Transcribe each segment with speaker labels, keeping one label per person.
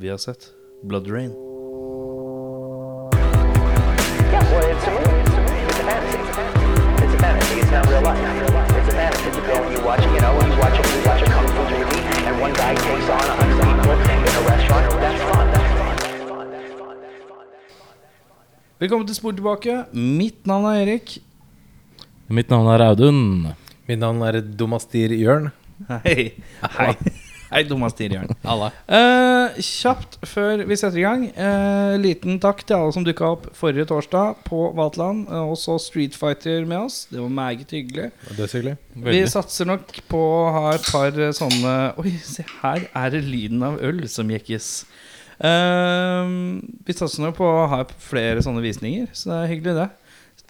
Speaker 1: Vi har sett Blood Rain.
Speaker 2: Yeah, well, it's a movie. It's a movie. It's a fantasy. It's a fantasy. It's not real life. It's a fantasy. It's a film you watch. You know, you watch a you watch a kung fu movie, and one guy takes on a hundred people in a restaurant. That's fun. That's fun. That's fun. That's fun. That's fun. That's fun.
Speaker 1: Velkommen til Spor tilbake. Mitt navn er Erik.
Speaker 3: Mitt navn er Audun.
Speaker 4: Mitt navn er Domastir Jørn.
Speaker 1: Hei. Hei. Hei, dummast tirjørn.
Speaker 4: Halla.
Speaker 1: Eh, kjapt før vi setter i gang, eh, liten takk til alle som dukka opp forrige torsdag på Vatland. eh, Og så Street Fighter med oss. Det var meget hyggelig.
Speaker 4: Dødshyggelig.
Speaker 1: Vi satser nok på å ha et par eh, sånne Oi, se her er det lyden av øl som jekkes. Ehm, vi satser nok på å ha flere sånne visninger, så det er hyggelig, det.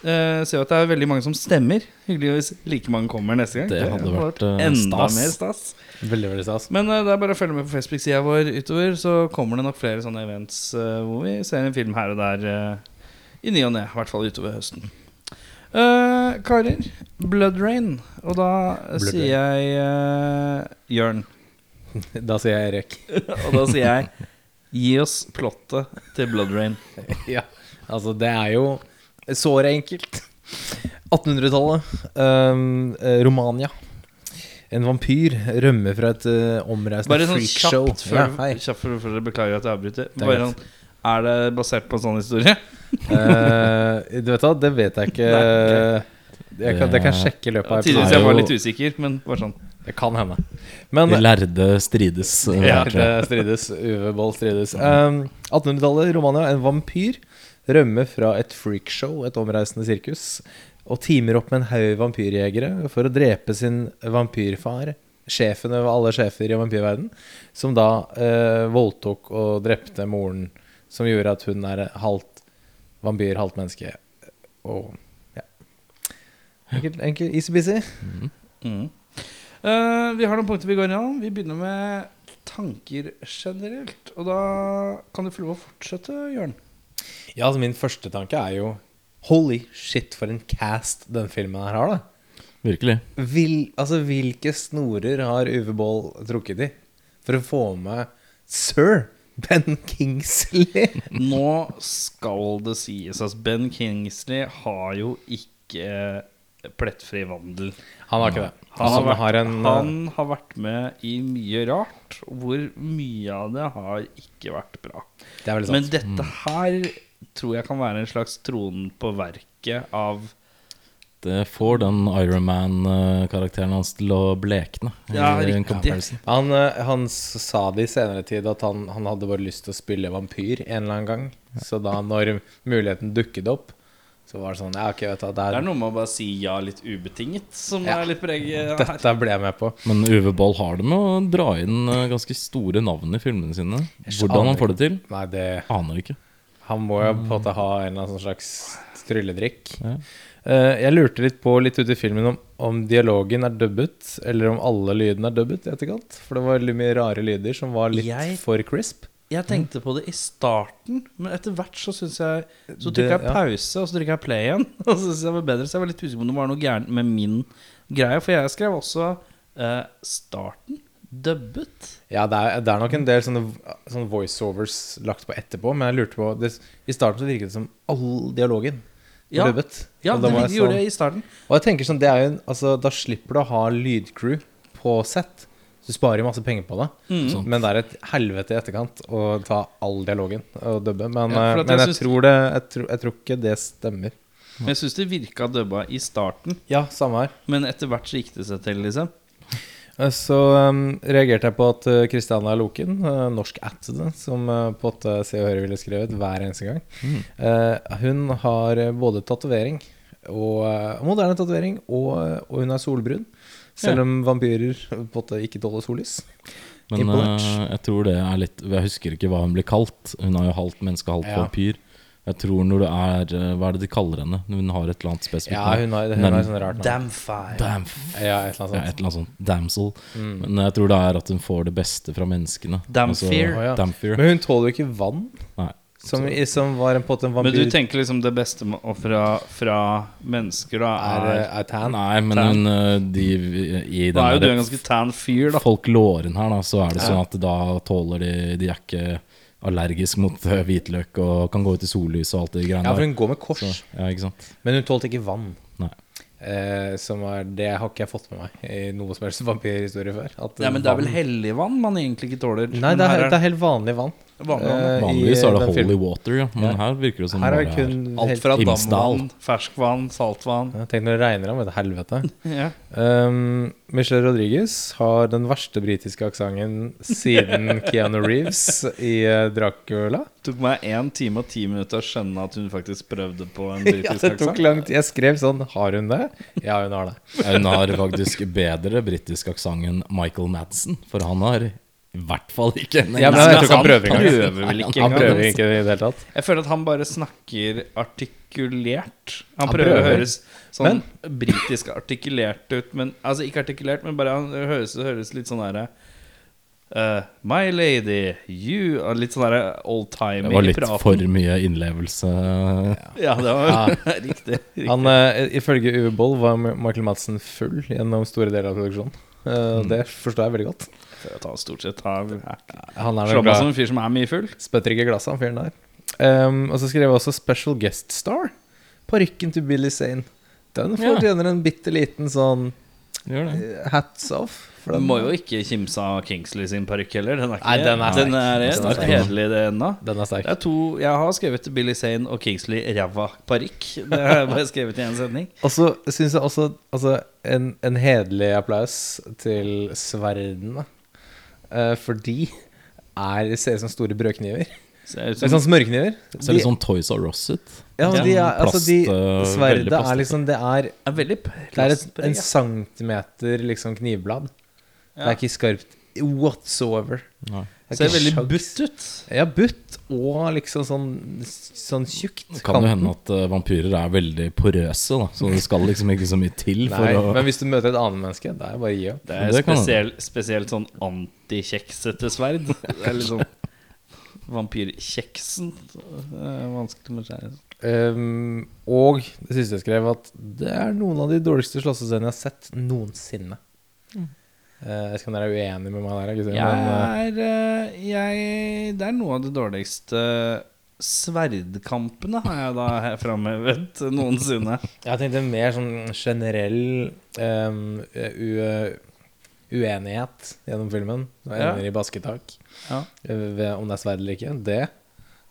Speaker 1: Uh, ser jo at det er veldig mange som stemmer. Hyggelig hvis like mange kommer neste gang.
Speaker 3: Det hadde vært, eh,
Speaker 1: enda
Speaker 3: stas.
Speaker 1: mer stas.
Speaker 4: Veldig, veldig stas.
Speaker 1: Men eh, det er bare å følge med på Facebook-sida vår utover, så kommer det nok flere sånne events eh, hvor vi ser en film her og der eh, i ny og ne. I hvert fall utover høsten. Eh, karer, Blood Rain. Og da eh,
Speaker 4: Blood
Speaker 1: sier jeg uh, Jørn.
Speaker 4: Da sier jeg Erik.
Speaker 1: Og da sier jeg gi oss plottet til Blood Rain.
Speaker 4: ja. Altså, det er jo såre enkelt. 1800-tallet. ehm, eh, Romania. En vampyr rømmer fra et eh, omreisende
Speaker 1: Bare sånn
Speaker 4: freakshow.
Speaker 1: kjapt før,
Speaker 4: Ja, hei.
Speaker 1: kjapt før, før dere beklager at jeg avbryter.
Speaker 4: er
Speaker 1: Bare
Speaker 4: greit.
Speaker 1: sånn, er det basert på en sånn historie?
Speaker 4: Eh, du vet da, det vet jeg ikke.
Speaker 1: Nei,
Speaker 4: Jeg kan, det kan jeg sjekke i løpet av
Speaker 1: Tidligere
Speaker 3: er
Speaker 1: så jeg var
Speaker 3: jo-
Speaker 1: litt usikker, men bare sånn.
Speaker 4: Det kan hende. Men
Speaker 3: De lærde strides. eh,
Speaker 1: Ja,
Speaker 3: hvert.
Speaker 4: Hjerte strides, Uwe Boll strides. Um, 1800-tallet, Romania. En vampyr rømmer fra et freakshow, et omreisende sirkus, og teamer opp med en haug vampyrjegere for å drepe sin vampyrfar, sjefen over alle sjefer i vampyrverden, som da eh, voldtok og drepte moren, som gjorde at hun er halvt vampyr, halvt menneske. Og ja. Enkelt, enkelt easy-busy.
Speaker 1: Mm. Eh, vi har noen punkter vi går gjennom. Vi begynner med tanker generelt. Og da kan du få lov å fortsette, Jørn.
Speaker 4: Ja, altså min første tanke er jo Holy shit, for en cast den filmen her har, da.
Speaker 3: Virkelig.
Speaker 4: Vil, altså, hvilke snorer har Uwe Boll trukket i for å få med sir Ben Kingsley?
Speaker 1: Nå skal det sies at Ben Kingsley har jo ikke eh, plettfri vandel.
Speaker 4: Han har ikke det.
Speaker 1: Han har, vært,
Speaker 4: har en eh,
Speaker 1: han har vært med i mye rart, hvor mye av det har ikke vært bra.
Speaker 4: Det er veldig
Speaker 1: Men
Speaker 4: sant. Mm.
Speaker 1: dette her tror jeg kan være en slags tronen på verket av
Speaker 3: Det får den Ironman-karakteren hans til å blekne. i
Speaker 1: Ja,
Speaker 3: en
Speaker 1: riktig.
Speaker 3: comparison.
Speaker 4: Han, eh, han s- sa det i senere tid at han, han hadde bare lyst til å spille vampyr en eller annen gang. Så da når muligheten dukket opp, så var det sånn Ja, ok, vet du hva,
Speaker 1: Det er
Speaker 4: det her-
Speaker 1: noe med å bare si ja litt ubetinget, som
Speaker 4: Ja.
Speaker 1: er litt preget her.
Speaker 4: dette ble jeg med på.
Speaker 3: Men Uwe Boll har det med å dra inn eh, ganske store navn i filmene sine. Hvordan han får det til,
Speaker 4: Nei, det
Speaker 3: aner ikke.
Speaker 4: Han må jo på en måte ha en eller annen sånn slags trylledrikk.
Speaker 3: Ja.
Speaker 4: Eh, jeg lurte litt på litt ute i filmen om, om dialogen er dubbet, eller om alle lydene er dubbet i etterkant. For det var veldig mye rare lyder som var litt
Speaker 1: Jeg-
Speaker 4: for crisp.
Speaker 1: Jeg tenkte på det i starten, men etter hvert så syns jeg Så
Speaker 4: Det-
Speaker 1: trykka jeg
Speaker 4: ja.
Speaker 1: pause, og så trykka jeg play igjen. Og så synes jeg det var bedre Så jeg var litt usikker på om det var noe gærent med min greie. For jeg skrev også eh, starten dubbet.
Speaker 4: Ja, det er, det er nok en del sånne, sånne voiceovers lagt på etterpå, men jeg lurte på det, I starten så virket det som all dialogen var
Speaker 1: Ja.
Speaker 4: dubbet.
Speaker 1: Ja,
Speaker 4: Og da
Speaker 1: det
Speaker 4: var
Speaker 1: de
Speaker 4: jeg
Speaker 1: gjorde
Speaker 4: sånn-
Speaker 1: det i starten.
Speaker 4: Og jeg tenker sånn, det er jo en, altså, Da slipper du å ha lydcrew på sett. Du sparer jo masse penger på det.
Speaker 1: Mm.
Speaker 3: Sant.
Speaker 4: Men det er et helvete i etterkant å ta all dialogen og dubbe. Men,
Speaker 1: Ja,
Speaker 4: eh,
Speaker 1: for at jeg
Speaker 4: men jeg,
Speaker 1: syns-
Speaker 4: tror det, jeg, tror, jeg tror ikke det stemmer.
Speaker 1: Men jeg syns det virka dubba i starten,
Speaker 4: Ja, samme her.
Speaker 1: men etter hvert så gikk det seg til, liksom.
Speaker 4: Eh, Så eh, reagerte jeg på at eh, Christiana Loken, eh, norsk ættede, som eh, på åtte Se og Høre ville skrevet hver eneste gang,
Speaker 3: Mm.
Speaker 4: eh, hun har eh, både tatovering og eh, moderne tatovering, og, eh, og hun er solbrun. Selv om vampyrer på en måte ikke tåler sollys.
Speaker 3: Men
Speaker 4: Imponert.
Speaker 3: eh, jeg tror det er litt Jeg husker ikke hva hun blir kalt. Hun er jo halvt menneske, halvt
Speaker 4: Ja.
Speaker 3: vampyr. Jeg tror når du er eh, Hva er det de kaller henne? Når Hun har et eller annet spesifikt
Speaker 4: Ja,
Speaker 3: navn.
Speaker 4: hun har, hun
Speaker 3: Nei,
Speaker 4: har
Speaker 3: men-
Speaker 4: et sånt rart navn.
Speaker 1: Damn fire.
Speaker 3: Damn, f-
Speaker 4: Ja, et eller
Speaker 3: ja, et
Speaker 4: annet sånt. Mm.
Speaker 3: eller annet sånt. Damsel. Men jeg tror det er at hun får det beste fra menneskene. Altså,
Speaker 1: Damfear.
Speaker 4: Å, ja.
Speaker 3: Damfear.
Speaker 4: Men hun tåler jo ikke vann.
Speaker 3: Nei.
Speaker 4: Som, som var en, på en måte en
Speaker 1: Men du
Speaker 4: vampyr
Speaker 1: tenker liksom det beste med- og fra, fra mennesker, da,
Speaker 4: er,
Speaker 1: er,
Speaker 4: er tan.
Speaker 3: Nei, men
Speaker 1: Tan.
Speaker 3: hun, eh, de i
Speaker 1: Da er jo du en
Speaker 3: den
Speaker 1: ganske tan fyr, da.
Speaker 3: folklåren her, da, så er det sånn at da tåler de De er ikke allergisk mot eh, hvitløk og kan gå ut i sollys og alt det
Speaker 4: Ja,
Speaker 3: greiene
Speaker 4: for
Speaker 3: der.
Speaker 4: hun går med kors.
Speaker 3: Ja, ikke sant?
Speaker 4: Men hun tålte ikke vann.
Speaker 3: Nei.
Speaker 4: Eh, som er, det har ikke jeg fått med meg i noe som helst vampyrhistorie før. at
Speaker 1: Ja, men det er vel
Speaker 4: vann-
Speaker 1: helligvann man egentlig ikke tåler?
Speaker 4: Nei,
Speaker 1: Men
Speaker 4: det er,
Speaker 1: her
Speaker 4: det er helt vanlig vann.
Speaker 1: vanlig vann, ja.
Speaker 4: Eh, i
Speaker 3: Vanligvis er det
Speaker 4: den
Speaker 3: holy
Speaker 4: filmen.
Speaker 3: water, ja. men her virker det som
Speaker 4: Her er det
Speaker 3: Sånn bare
Speaker 4: kun
Speaker 1: Alt
Speaker 4: helt-
Speaker 1: fra
Speaker 3: Imsdal.
Speaker 1: damvann, ferskvann, saltvann.
Speaker 4: Ja, Tenk når det regner om, et helvete.
Speaker 1: Ja.
Speaker 4: Um, Michelle Rodriguez har den verste britiske aksenten siden Keanu Reeves i eh, Dracula.
Speaker 1: Det tok meg én time og ti minutter å skjønne at hun faktisk prøvde på en
Speaker 4: Ja,
Speaker 1: britisk
Speaker 4: det tok
Speaker 1: aksent.
Speaker 4: lang tid. Jeg skrev sånn Har hun det? Ja, hun har det.
Speaker 3: Hun har faktisk bedre britisk aksent enn Michael Madsen, for han har i hvert fall ikke en
Speaker 4: Ja, men
Speaker 3: engelsk
Speaker 4: jeg tror ikke han
Speaker 3: aksent.
Speaker 4: prøver engang.
Speaker 1: prøver vel ikke
Speaker 4: Han prøver
Speaker 1: engang. altså.
Speaker 4: ikke i det hele tatt.
Speaker 1: Jeg føler at han bare snakker artikulert. Han,
Speaker 4: Han
Speaker 1: prøver, å
Speaker 4: prøver.
Speaker 1: høres sånn britisk artikulert ut, men altså ikke artikulert, men bare han høres, høres litt sånn derre eh, my lady, you og Litt sånn derre oldtimey
Speaker 3: Det var litt
Speaker 1: praten.
Speaker 3: for mye innlevelse.
Speaker 1: Ja, det var riktig. riktig.
Speaker 4: Han, eh, ifølge Uwe Boll var Michael Madsen full gjennom store deler av produksjonen. Eh, Det forstår jeg veldig godt.
Speaker 1: Jeg tar stort sett av
Speaker 4: Han
Speaker 1: Slår
Speaker 4: er vel
Speaker 1: meg
Speaker 4: glad
Speaker 1: som en fyr som er mye full.
Speaker 4: Spytter ikke i glasset, han fyren der. Ehm, og så skrev jeg også 'Special Guest Star'. Parykken til Billy Zane. Den
Speaker 3: Ja.
Speaker 4: fortjener en bitte liten sånn
Speaker 3: Gjør det.
Speaker 4: eh, hats off. For
Speaker 1: Du
Speaker 4: den,
Speaker 1: må jo ikke kimse av Kingsley sin parykk heller. Den er ikke
Speaker 4: Nei, den er
Speaker 1: den er,
Speaker 4: sterk. Den er
Speaker 1: den er
Speaker 4: sterk.
Speaker 1: hederlig, den da.
Speaker 4: den er sterk.
Speaker 1: Det er to, jeg har skrevet Billy Zane og Kingsley ræva parykk. Det har jeg bare skrevet i én setning.
Speaker 4: Og så syns jeg også altså, en, en hederlig applaus til sverdene. Eh, for de er, ser ut som store brødkniver.
Speaker 1: Ser ut
Speaker 4: Eller
Speaker 1: som
Speaker 4: sånn smørkniver.
Speaker 3: Ser litt
Speaker 4: De-
Speaker 3: sånn Toys R Us ut.
Speaker 4: ja, men
Speaker 1: ja,
Speaker 4: de er, altså, de,
Speaker 3: plast, eh, veldig
Speaker 4: sverdet
Speaker 3: plast.
Speaker 4: er liksom Det er,
Speaker 1: er veldig
Speaker 4: det er et, en
Speaker 1: plastprega.
Speaker 4: centimeter liksom knivblad. Det er ikke skarpt whatsoever.
Speaker 3: Nei.
Speaker 4: Det er
Speaker 1: Ser
Speaker 4: ikke
Speaker 1: veldig
Speaker 4: sjans.
Speaker 1: butt ut.
Speaker 4: Ja, butt og liksom sånn, sånn tjukt.
Speaker 3: Det kan jo hende at eh, vampyrer er veldig porøse, da. så det skal liksom ikke så mye til for
Speaker 4: Nei,
Speaker 3: å
Speaker 4: men hvis du møter et annet menneske, det er bare å gi opp.
Speaker 1: Det er
Speaker 3: Det kan
Speaker 1: spesielt, spesielt sånn antikjeksete sverd. Det er liksom Vampyrkjeksen. Det er Vanskelig med skjære.
Speaker 4: Um, og det siste jeg skrev, at det er noen av de dårligste slåssescenene jeg har sett noensinne. Eh, jeg vet ikke om dere er uenig med meg der, gutter, men eh,
Speaker 1: Jeg er, eh, jeg, det er noe av det dårligste sverdkampene har jeg da her framhevet noensinne.
Speaker 4: jeg tenkte mer sånn generell em, u- uenighet gjennom filmen. Som
Speaker 1: Ja.
Speaker 4: ender i basketak.
Speaker 1: Ja.
Speaker 4: eh, ved om det er sverd eller ikke. Det,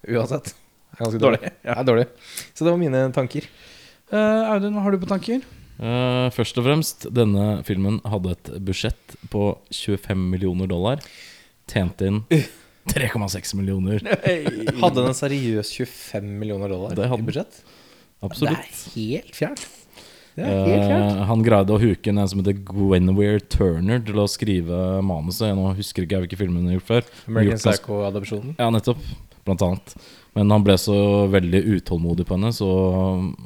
Speaker 4: uansett, er ganske
Speaker 1: Dårlig,
Speaker 4: dårlig.
Speaker 1: ja.
Speaker 4: Det er dårlig. Så det var mine tanker.
Speaker 1: Eh, Audun, hva har du på tanker?
Speaker 3: Eh, Først og fremst, denne filmen hadde et budsjett på 25 millioner dollar. Tjente inn 3,6 millioner.
Speaker 4: Hadde den seriøst 25 millioner dollar
Speaker 3: Det hadde
Speaker 4: i budsjett?
Speaker 3: Absolutt.
Speaker 4: Det er helt fjernt. Det er helt fjernt.
Speaker 3: Eh, han greide å huke inn en som heter Gwenwere Turner til å skrive manuset. Jeg nå husker ikke jeg hvilke filmer hun har gjort før.
Speaker 4: American
Speaker 3: Gjort ganske-
Speaker 4: Psycho-adopsjonen.
Speaker 3: Ja, nettopp. Blant annet. Men han ble så veldig utålmodig på henne, så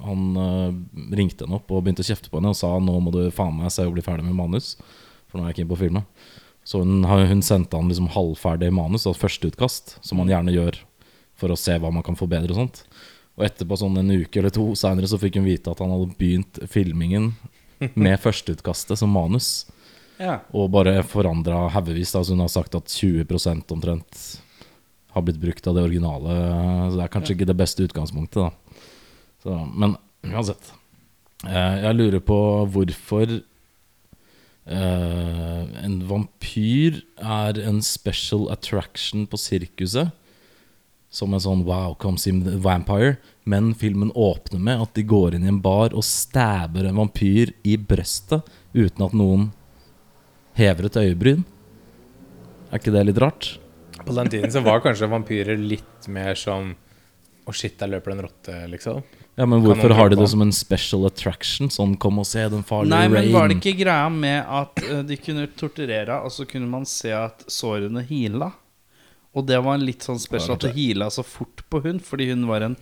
Speaker 3: han eh, ringte henne opp og begynte å kjefte på henne og sa nå må du faen meg se og bli ferdig med manus, for nå er jeg keen på å filme. Så hun, hun sendte han liksom halvferdig manus, altså førsteutkast, som man gjerne gjør for å se hva man kan forbedre og sånt. Og etterpå, sånn en uke eller to seinere, så fikk hun vite at han hadde begynt filmingen med førsteutkastet som manus,
Speaker 1: Ja.
Speaker 3: og bare forandra haugevis. da. Så hun har sagt at 20 omtrent har blitt brukt av det originale. Så det er kanskje ikke det beste utgangspunktet, da. Så, men uansett. Eh, jeg lurer på hvorfor eh, en vampyr er en special attraction på sirkuset. Som en sånn wow, come see the vampire. Men filmen åpner med at de går inn i en bar og stabber en vampyr i brøstet uten at noen hever et øyebryn. Er ikke det litt rart?
Speaker 4: På den tiden så var kanskje vampyrer litt mer som Å, shit, der løper det en rotte, liksom.
Speaker 3: Ja, men
Speaker 4: Kan
Speaker 3: hvorfor
Speaker 4: man
Speaker 3: har de
Speaker 4: prøve på
Speaker 3: det som en special attraction? Sånn, kom og se den farlige
Speaker 1: Nei,
Speaker 3: Rain.
Speaker 1: men var det ikke greia med at eh, de kunne torturere, og så kunne man se at sårene hila? Og det var en litt sånn special at det hila så fort på hun, fordi hun var en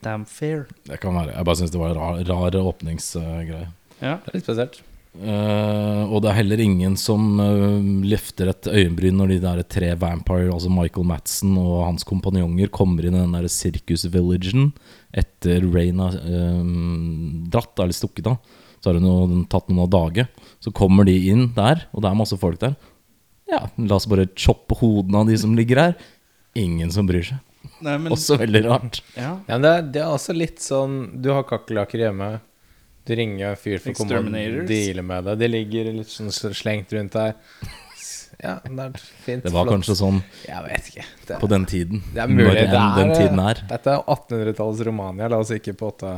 Speaker 1: damn fair.
Speaker 3: Det kan være. Jeg bare syns det var en rar, rar åpningsgreie.
Speaker 1: Ja.
Speaker 4: Det er litt spesielt.
Speaker 3: Eh, og det er heller ingen som eh, løfter et øyenbryn når de der tre vampire, altså Michael Madsen og hans kompanjonger, kommer inn i den der sirkus-villagen etter Rain har eh, dratt, eller stukket av. Så har hun jo tatt noen av dage. Så kommer de inn der, og det er masse folk der. Ja, la oss bare choppe hodene av de som ligger her. Ingen som bryr seg.
Speaker 1: Nei, men,
Speaker 3: Også veldig rart.
Speaker 1: ja.
Speaker 4: Ja, men det er, det er også litt sånn Du har kakerlakker hjemme. Du ringer en fyr for å komme og
Speaker 1: Exterminators.
Speaker 4: deale med det. De ligger litt sånn slengt rundt der. Ja, det er fint.
Speaker 3: Det var
Speaker 4: flott.
Speaker 3: kanskje sånn
Speaker 4: Jeg vet ikke. Det,
Speaker 3: på den tiden.
Speaker 4: det er mulig.
Speaker 3: Når
Speaker 4: Det
Speaker 3: enn
Speaker 4: er, eh,
Speaker 3: den tiden er.
Speaker 4: Dette er 1800-tallets Romania. La oss ikke på åtte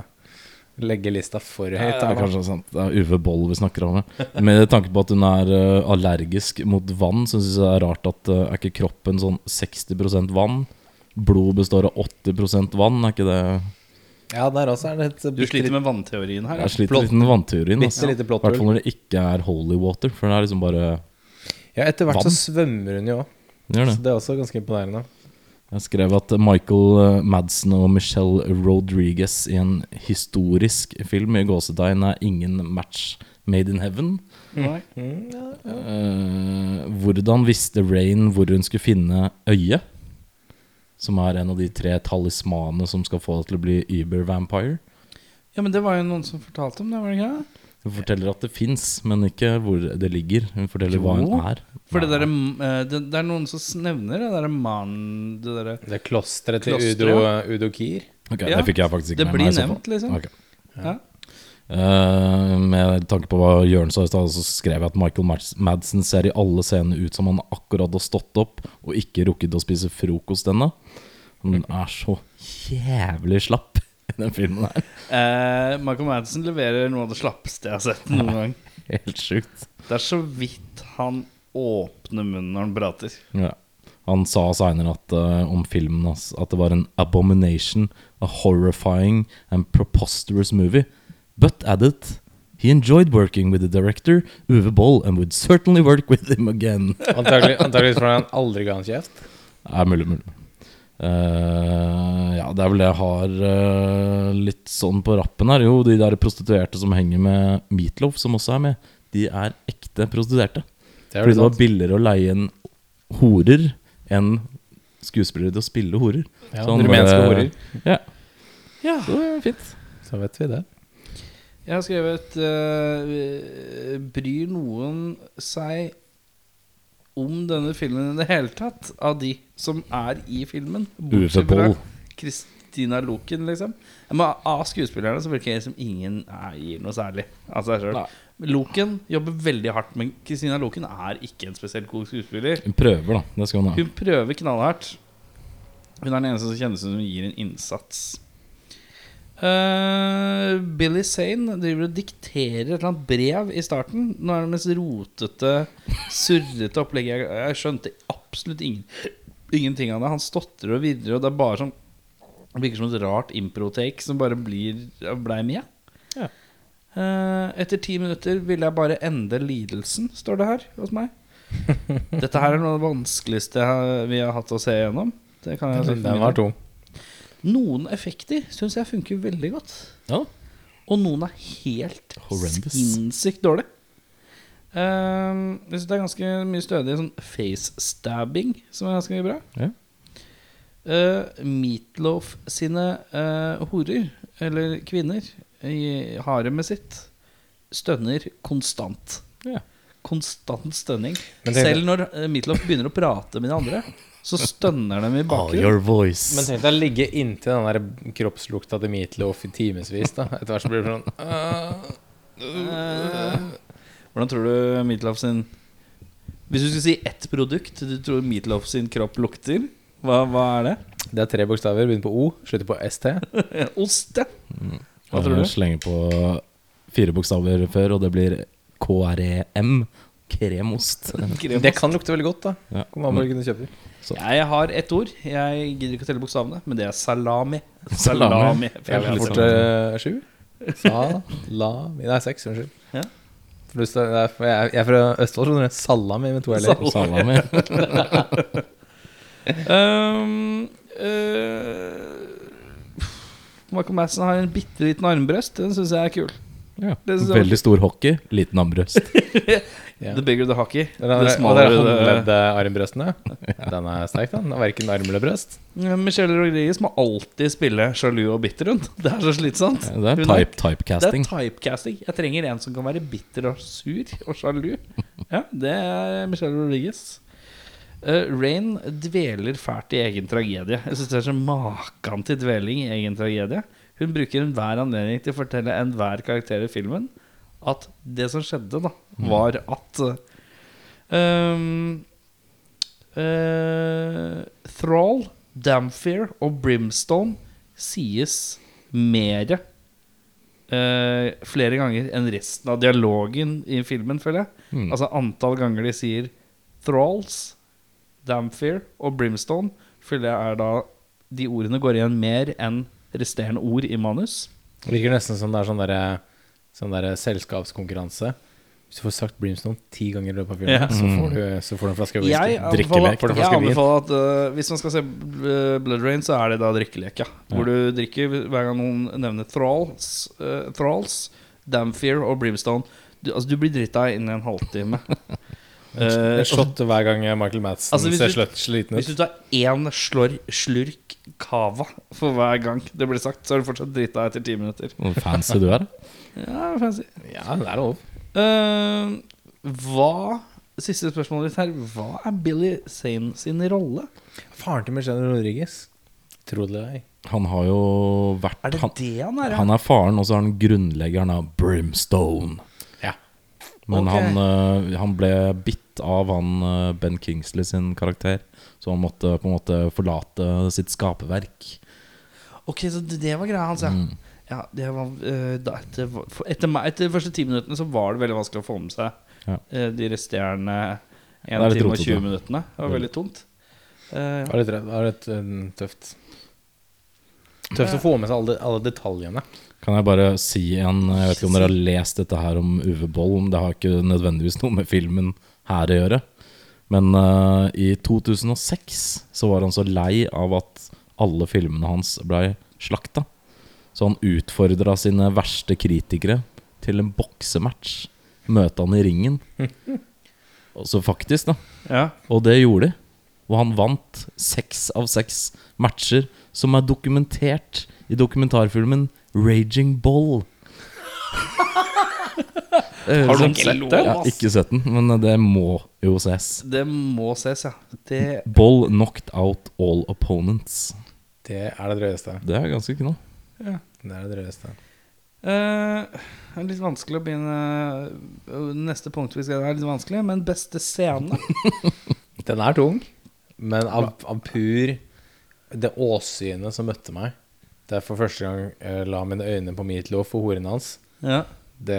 Speaker 4: legge lista for høyt.
Speaker 3: Ja, det
Speaker 4: da.
Speaker 3: er kanskje sant. Det er Uwe Boll vi snakker om. ja. Med tanke på at hun er eh, allergisk mot vann, så syns jeg det er rart at eh, er ikke kroppen sånn 60 vann? Blod består av 80 vann, er ikke det
Speaker 4: ja, der også er det et
Speaker 1: Du sliter med vannteorien her. ja.
Speaker 3: Jeg sliter litt med vannteorien. altså.
Speaker 4: Bitte lite
Speaker 3: I hvert fall når det ikke er holy water, for det er liksom bare
Speaker 4: Ja, etter hvert
Speaker 3: Vann?
Speaker 4: så svømmer hun jo òg.
Speaker 3: Den Gjør det.
Speaker 4: Så det er også ganske imponerende.
Speaker 3: Jeg skrev at Michael eh, Madsen og Michelle Rodriguez i en historisk film i gåsetegn er ingen match made in heaven.
Speaker 1: Nei.
Speaker 3: Eh, hvordan visste Rain hvor hun skulle finne øyet? Som er en av de tre talismanene som skal få deg til å bli Uber-vampire.
Speaker 1: Ja, men det var jo noen som fortalte om det, var det ikke? det?
Speaker 3: Hun forteller at det fins, men ikke hvor det ligger. Hun forteller hva hun
Speaker 1: Jo,
Speaker 3: er.
Speaker 1: For det,
Speaker 3: Nei.
Speaker 1: der, eh, det, det er noen som nevner det derre mannen Det derre
Speaker 4: Det er klosteret til
Speaker 1: Klosteret,
Speaker 4: Udo, uh, Udo Kier.
Speaker 3: Ok,
Speaker 1: Ja,
Speaker 3: Det fikk jeg faktisk ikke
Speaker 1: Det
Speaker 3: med meg.
Speaker 1: blir
Speaker 3: i så fall.
Speaker 1: nevnt, liksom.
Speaker 3: Ok.
Speaker 1: Ja.
Speaker 3: Eh, med tanke på hva Jørn sa i stad, så skrev jeg at Michael Mads- Madsen ser i alle scener ut som han akkurat har stått opp og ikke rukket å spise frokost ennå. Han er så jævlig slapp i den filmen her.
Speaker 1: Eh, Michael Madsen leverer noe av det slappeste jeg har sett noen gang.
Speaker 3: Helt sjukt.
Speaker 1: Det er så vidt han åpner munnen når han prater.
Speaker 3: Ja. Han sa seinere at eh, om filmen hans at det var en abomination, a horrifying and preposterous movie. But added, he enjoyed working with the director, Uwe Boll, and would certainly work with him again.
Speaker 4: Antagelig, antageligvis fordi han aldri ga en kjeft.
Speaker 3: Det er mulig, mulig. Eh, ja, det er vel det jeg har eh, litt sånn på rappen her. Jo, de der prostituerte som henger med Meatloaf, som også er med, de er ekte prostituerte.
Speaker 4: Det er
Speaker 3: Fordi
Speaker 4: vel
Speaker 3: det var
Speaker 4: sant.
Speaker 3: billigere å leie inn horer enn skuespillere til å spille horer.
Speaker 4: Ja,
Speaker 3: Sånn,
Speaker 4: rumenske
Speaker 3: eh,
Speaker 4: horer.
Speaker 3: Ja,
Speaker 1: Ja.
Speaker 3: så det er fint.
Speaker 4: Så vet vi det.
Speaker 1: Jeg har skrevet eh, Bryr noen seg om denne filmen i det hele tatt? Av de som er i filmen?
Speaker 3: Uwe
Speaker 1: Bortsett fra
Speaker 3: Boll.
Speaker 1: Christina Loken, liksom. Men av skuespillerne så virker det som ingen er, gir noe særlig av seg sjøl.
Speaker 3: Nei.
Speaker 1: Loken jobber veldig hardt, men Christina Loken er ikke en spesielt god skuespiller.
Speaker 3: Hun prøver, da. Det skal hun ha.
Speaker 1: Hun prøver knallhardt. Hun er den eneste som kjennes ut som hun gir en innsats. Eh, Billy Sane driver og dikterer et eller annet brev i starten. Nå er det mest rotete, surrete opplegget. Jeg, jeg skjønte absolutt ingen, ingenting av det. Han stotrer og virrer, og det er bare sånn det virker som et rart impro-take som bare blir, blei med.
Speaker 4: Ja.
Speaker 1: Eh, etter ti minutter ville jeg bare ende lidelsen, står det her hos meg. Dette her er noe av det vanskeligste jeg har- vi har hatt å se igjennom. Det kan jeg si for
Speaker 4: Den
Speaker 1: min
Speaker 4: var
Speaker 1: del.
Speaker 4: tung.
Speaker 1: Noen effekter syns jeg funker veldig godt.
Speaker 3: Ja.
Speaker 1: Og noen er helt
Speaker 3: Horrendous.
Speaker 1: sinnssykt dårlig. Uh, jeg syns det er ganske mye stødig sånn face-stabbing, som er ganske bra.
Speaker 3: Ja.
Speaker 1: Eh, Meatloaf sine eh, horer, eller kvinner, i haremet sitt stønner konstant.
Speaker 3: Ja.
Speaker 1: Konstant stønning.
Speaker 4: Men tenk-
Speaker 1: Selv når eh, Meatloaf begynner å prate med de andre, så stønner de i
Speaker 3: Oh,
Speaker 1: bakgrunnen.
Speaker 3: your voice.
Speaker 4: Men tenk deg å ligge inntil den der kroppslukta til Meatloaf i timevis. da. Etter hvert så blir det sånn
Speaker 1: Eh, Hvordan tror du Meatloaf sin Hvis du skulle si ett produkt du tror Meatloaf sin kropp lukter, hva, hva er det?
Speaker 4: Det er tre bokstaver, begynner på O, slutter på ST.
Speaker 1: Ost, ja. Hva
Speaker 3: Jeg
Speaker 1: tror du?
Speaker 3: Slenger på fire bokstaver før, og det blir KREM. Kremost.
Speaker 1: Kremost.
Speaker 4: Det kan lukte veldig godt, da.
Speaker 3: Ja.
Speaker 4: Kommer an på hvilken du kjøper.
Speaker 1: Jeg har ett ord. Jeg gidder ikke å telle bokstavene, men det er salami.
Speaker 3: Salami.
Speaker 4: Mm.
Speaker 1: føler jeg.
Speaker 3: litt
Speaker 4: Fort eh, sju. Salami Nei, seks, unnskyld.
Speaker 1: Ja.
Speaker 4: For du står- det er- for Jeg jeg er fra Østfold, skjønner du. Salami med to l-er.
Speaker 3: Salami.
Speaker 1: Um, eh, Michael Madsen har en bitte liten armbrøst. Den syns jeg er kul.
Speaker 3: Ja.
Speaker 1: Det synes jeg var-
Speaker 3: Veldig stor hockey, liten armbrøst.
Speaker 4: Ja.
Speaker 1: The bigger the hockey.
Speaker 4: Den der,
Speaker 1: The
Speaker 4: og
Speaker 1: smaller
Speaker 4: der
Speaker 1: the
Speaker 4: håndledde armbrøstene. Den er sterk, den. Verken arm eller brøst.
Speaker 1: Ja, Michelle Rodriguez må alltid spille sjalu og bitter. Hun. Det er så slitsomt.
Speaker 3: Det er
Speaker 1: Hun
Speaker 3: type,
Speaker 1: Det er
Speaker 3: typecasting.
Speaker 1: typecasting. Jeg trenger en som kan være bitter og sur og sjalu. Ja, det er Michelle Rodriguez. Eh, Rain dveler fælt i egen tragedie. Jeg synes det er så Makan til dveling i egen tragedie. Hun bruker enhver anledning til å fortelle enhver karakter i filmen at det som skjedde, da, var at eh, um, eh, Thrall, Damfear og Brimstone sies mere eh, flere ganger enn resten av dialogen i filmen, føler jeg.
Speaker 3: Mm.
Speaker 1: Altså antall ganger de sier Thralls, Damfear og Brimstone, føler jeg er da de ordene går igjen mer enn resterende ord i manus.
Speaker 4: Det virker nesten som det er sånn derre sånn der selskapskonkurranse. Hvis du får sagt Brimstone ti ganger i løpet av filmen,
Speaker 1: Ja.
Speaker 4: så, får du, så får du en flaske whisky.
Speaker 1: Jeg
Speaker 3: drikkelek.
Speaker 1: anbefaler,
Speaker 4: Får du
Speaker 1: jeg
Speaker 4: flaske vin?
Speaker 1: anbefaler at eh, hvis man skal se eh, Blood Rain, så er det da drikkelek, ja. Hvor du drikker hver gang noen nevner Thralls, uh, thralls Damfear og Brimstone. Du, altså, du blir drita innen en halvtime. Eh,
Speaker 4: En shot hver gang eh, Michael Madsen
Speaker 1: Altså, hvis
Speaker 4: ser
Speaker 1: du-
Speaker 4: sløtt, sliten
Speaker 1: Hvis du
Speaker 4: ut.
Speaker 1: tar én slår, slurk cava for hver gang det blir sagt, så er du fortsatt drita etter ti minutter.
Speaker 3: Hvor fancy du er. da.
Speaker 1: Ja, fancy.
Speaker 4: Ja, det er lov.
Speaker 1: Eh, hva Siste spørsmålet ditt her. Hva er Billy Zane sin rolle?
Speaker 4: Faren til Michelle Rodriguez. Tro det eller ei.
Speaker 3: Han har jo vært
Speaker 1: Er det
Speaker 3: han,
Speaker 1: det han er? ja?
Speaker 3: han er faren, og så er han grunnleggeren av Brimstone.
Speaker 4: Ja.
Speaker 3: Men
Speaker 1: Ok.
Speaker 3: han, eh, han ble bitt av han eh, Ben Kingsley sin karakter, så han måtte på en måte forlate sitt skaperverk.
Speaker 1: Ok, så det det var greia hans, ja. ja det var, eh, da, etter, for- etter, meg, etter de første ti minuttene så var det veldig vanskelig å få med seg
Speaker 3: Ja.
Speaker 1: eh, de resterende
Speaker 3: Ja, det
Speaker 1: 1
Speaker 3: er litt
Speaker 1: time og
Speaker 3: rotete.
Speaker 1: 20 minuttene. Det var veldig tungt. Eh,
Speaker 4: Det var litt, det var litt eh, tøft. Tøft å få med seg alle, alle detaljene.
Speaker 3: Kan jeg bare si en Jeg vet ikke om dere har lest dette her om Uwe Boll, men det har ikke nødvendigvis noe med filmen her å gjøre. Men eh, i 2006 så var han så lei av at alle filmene hans blei slakta. Så han utfordra sine verste kritikere til en boksematch. Møte han i ringen. Og så faktisk, da.
Speaker 1: ja.
Speaker 3: Og det gjorde de. Og han vant seks av seks matcher som er dokumentert i dokumentarfilmen Raging Ball. Eh,
Speaker 1: Har du ikke sett det?
Speaker 3: Jeg har ikke sett den, men eh, det må jo ses.
Speaker 1: Det må ses, ja. Det
Speaker 3: Ball knocked out all opponents.
Speaker 4: Det er det drøyeste.
Speaker 3: Det er ganske knall.
Speaker 4: Det er det drøyeste.
Speaker 1: Eh, det er litt vanskelig å begynne Neste punkt vi skal det er litt vanskelig, men beste scene
Speaker 4: Den er tung, men av, av pur Det åsynet som møtte meg Det er for første gang jeg la mine øyne på Meatloaf og horene hans.
Speaker 1: ja.
Speaker 4: Det,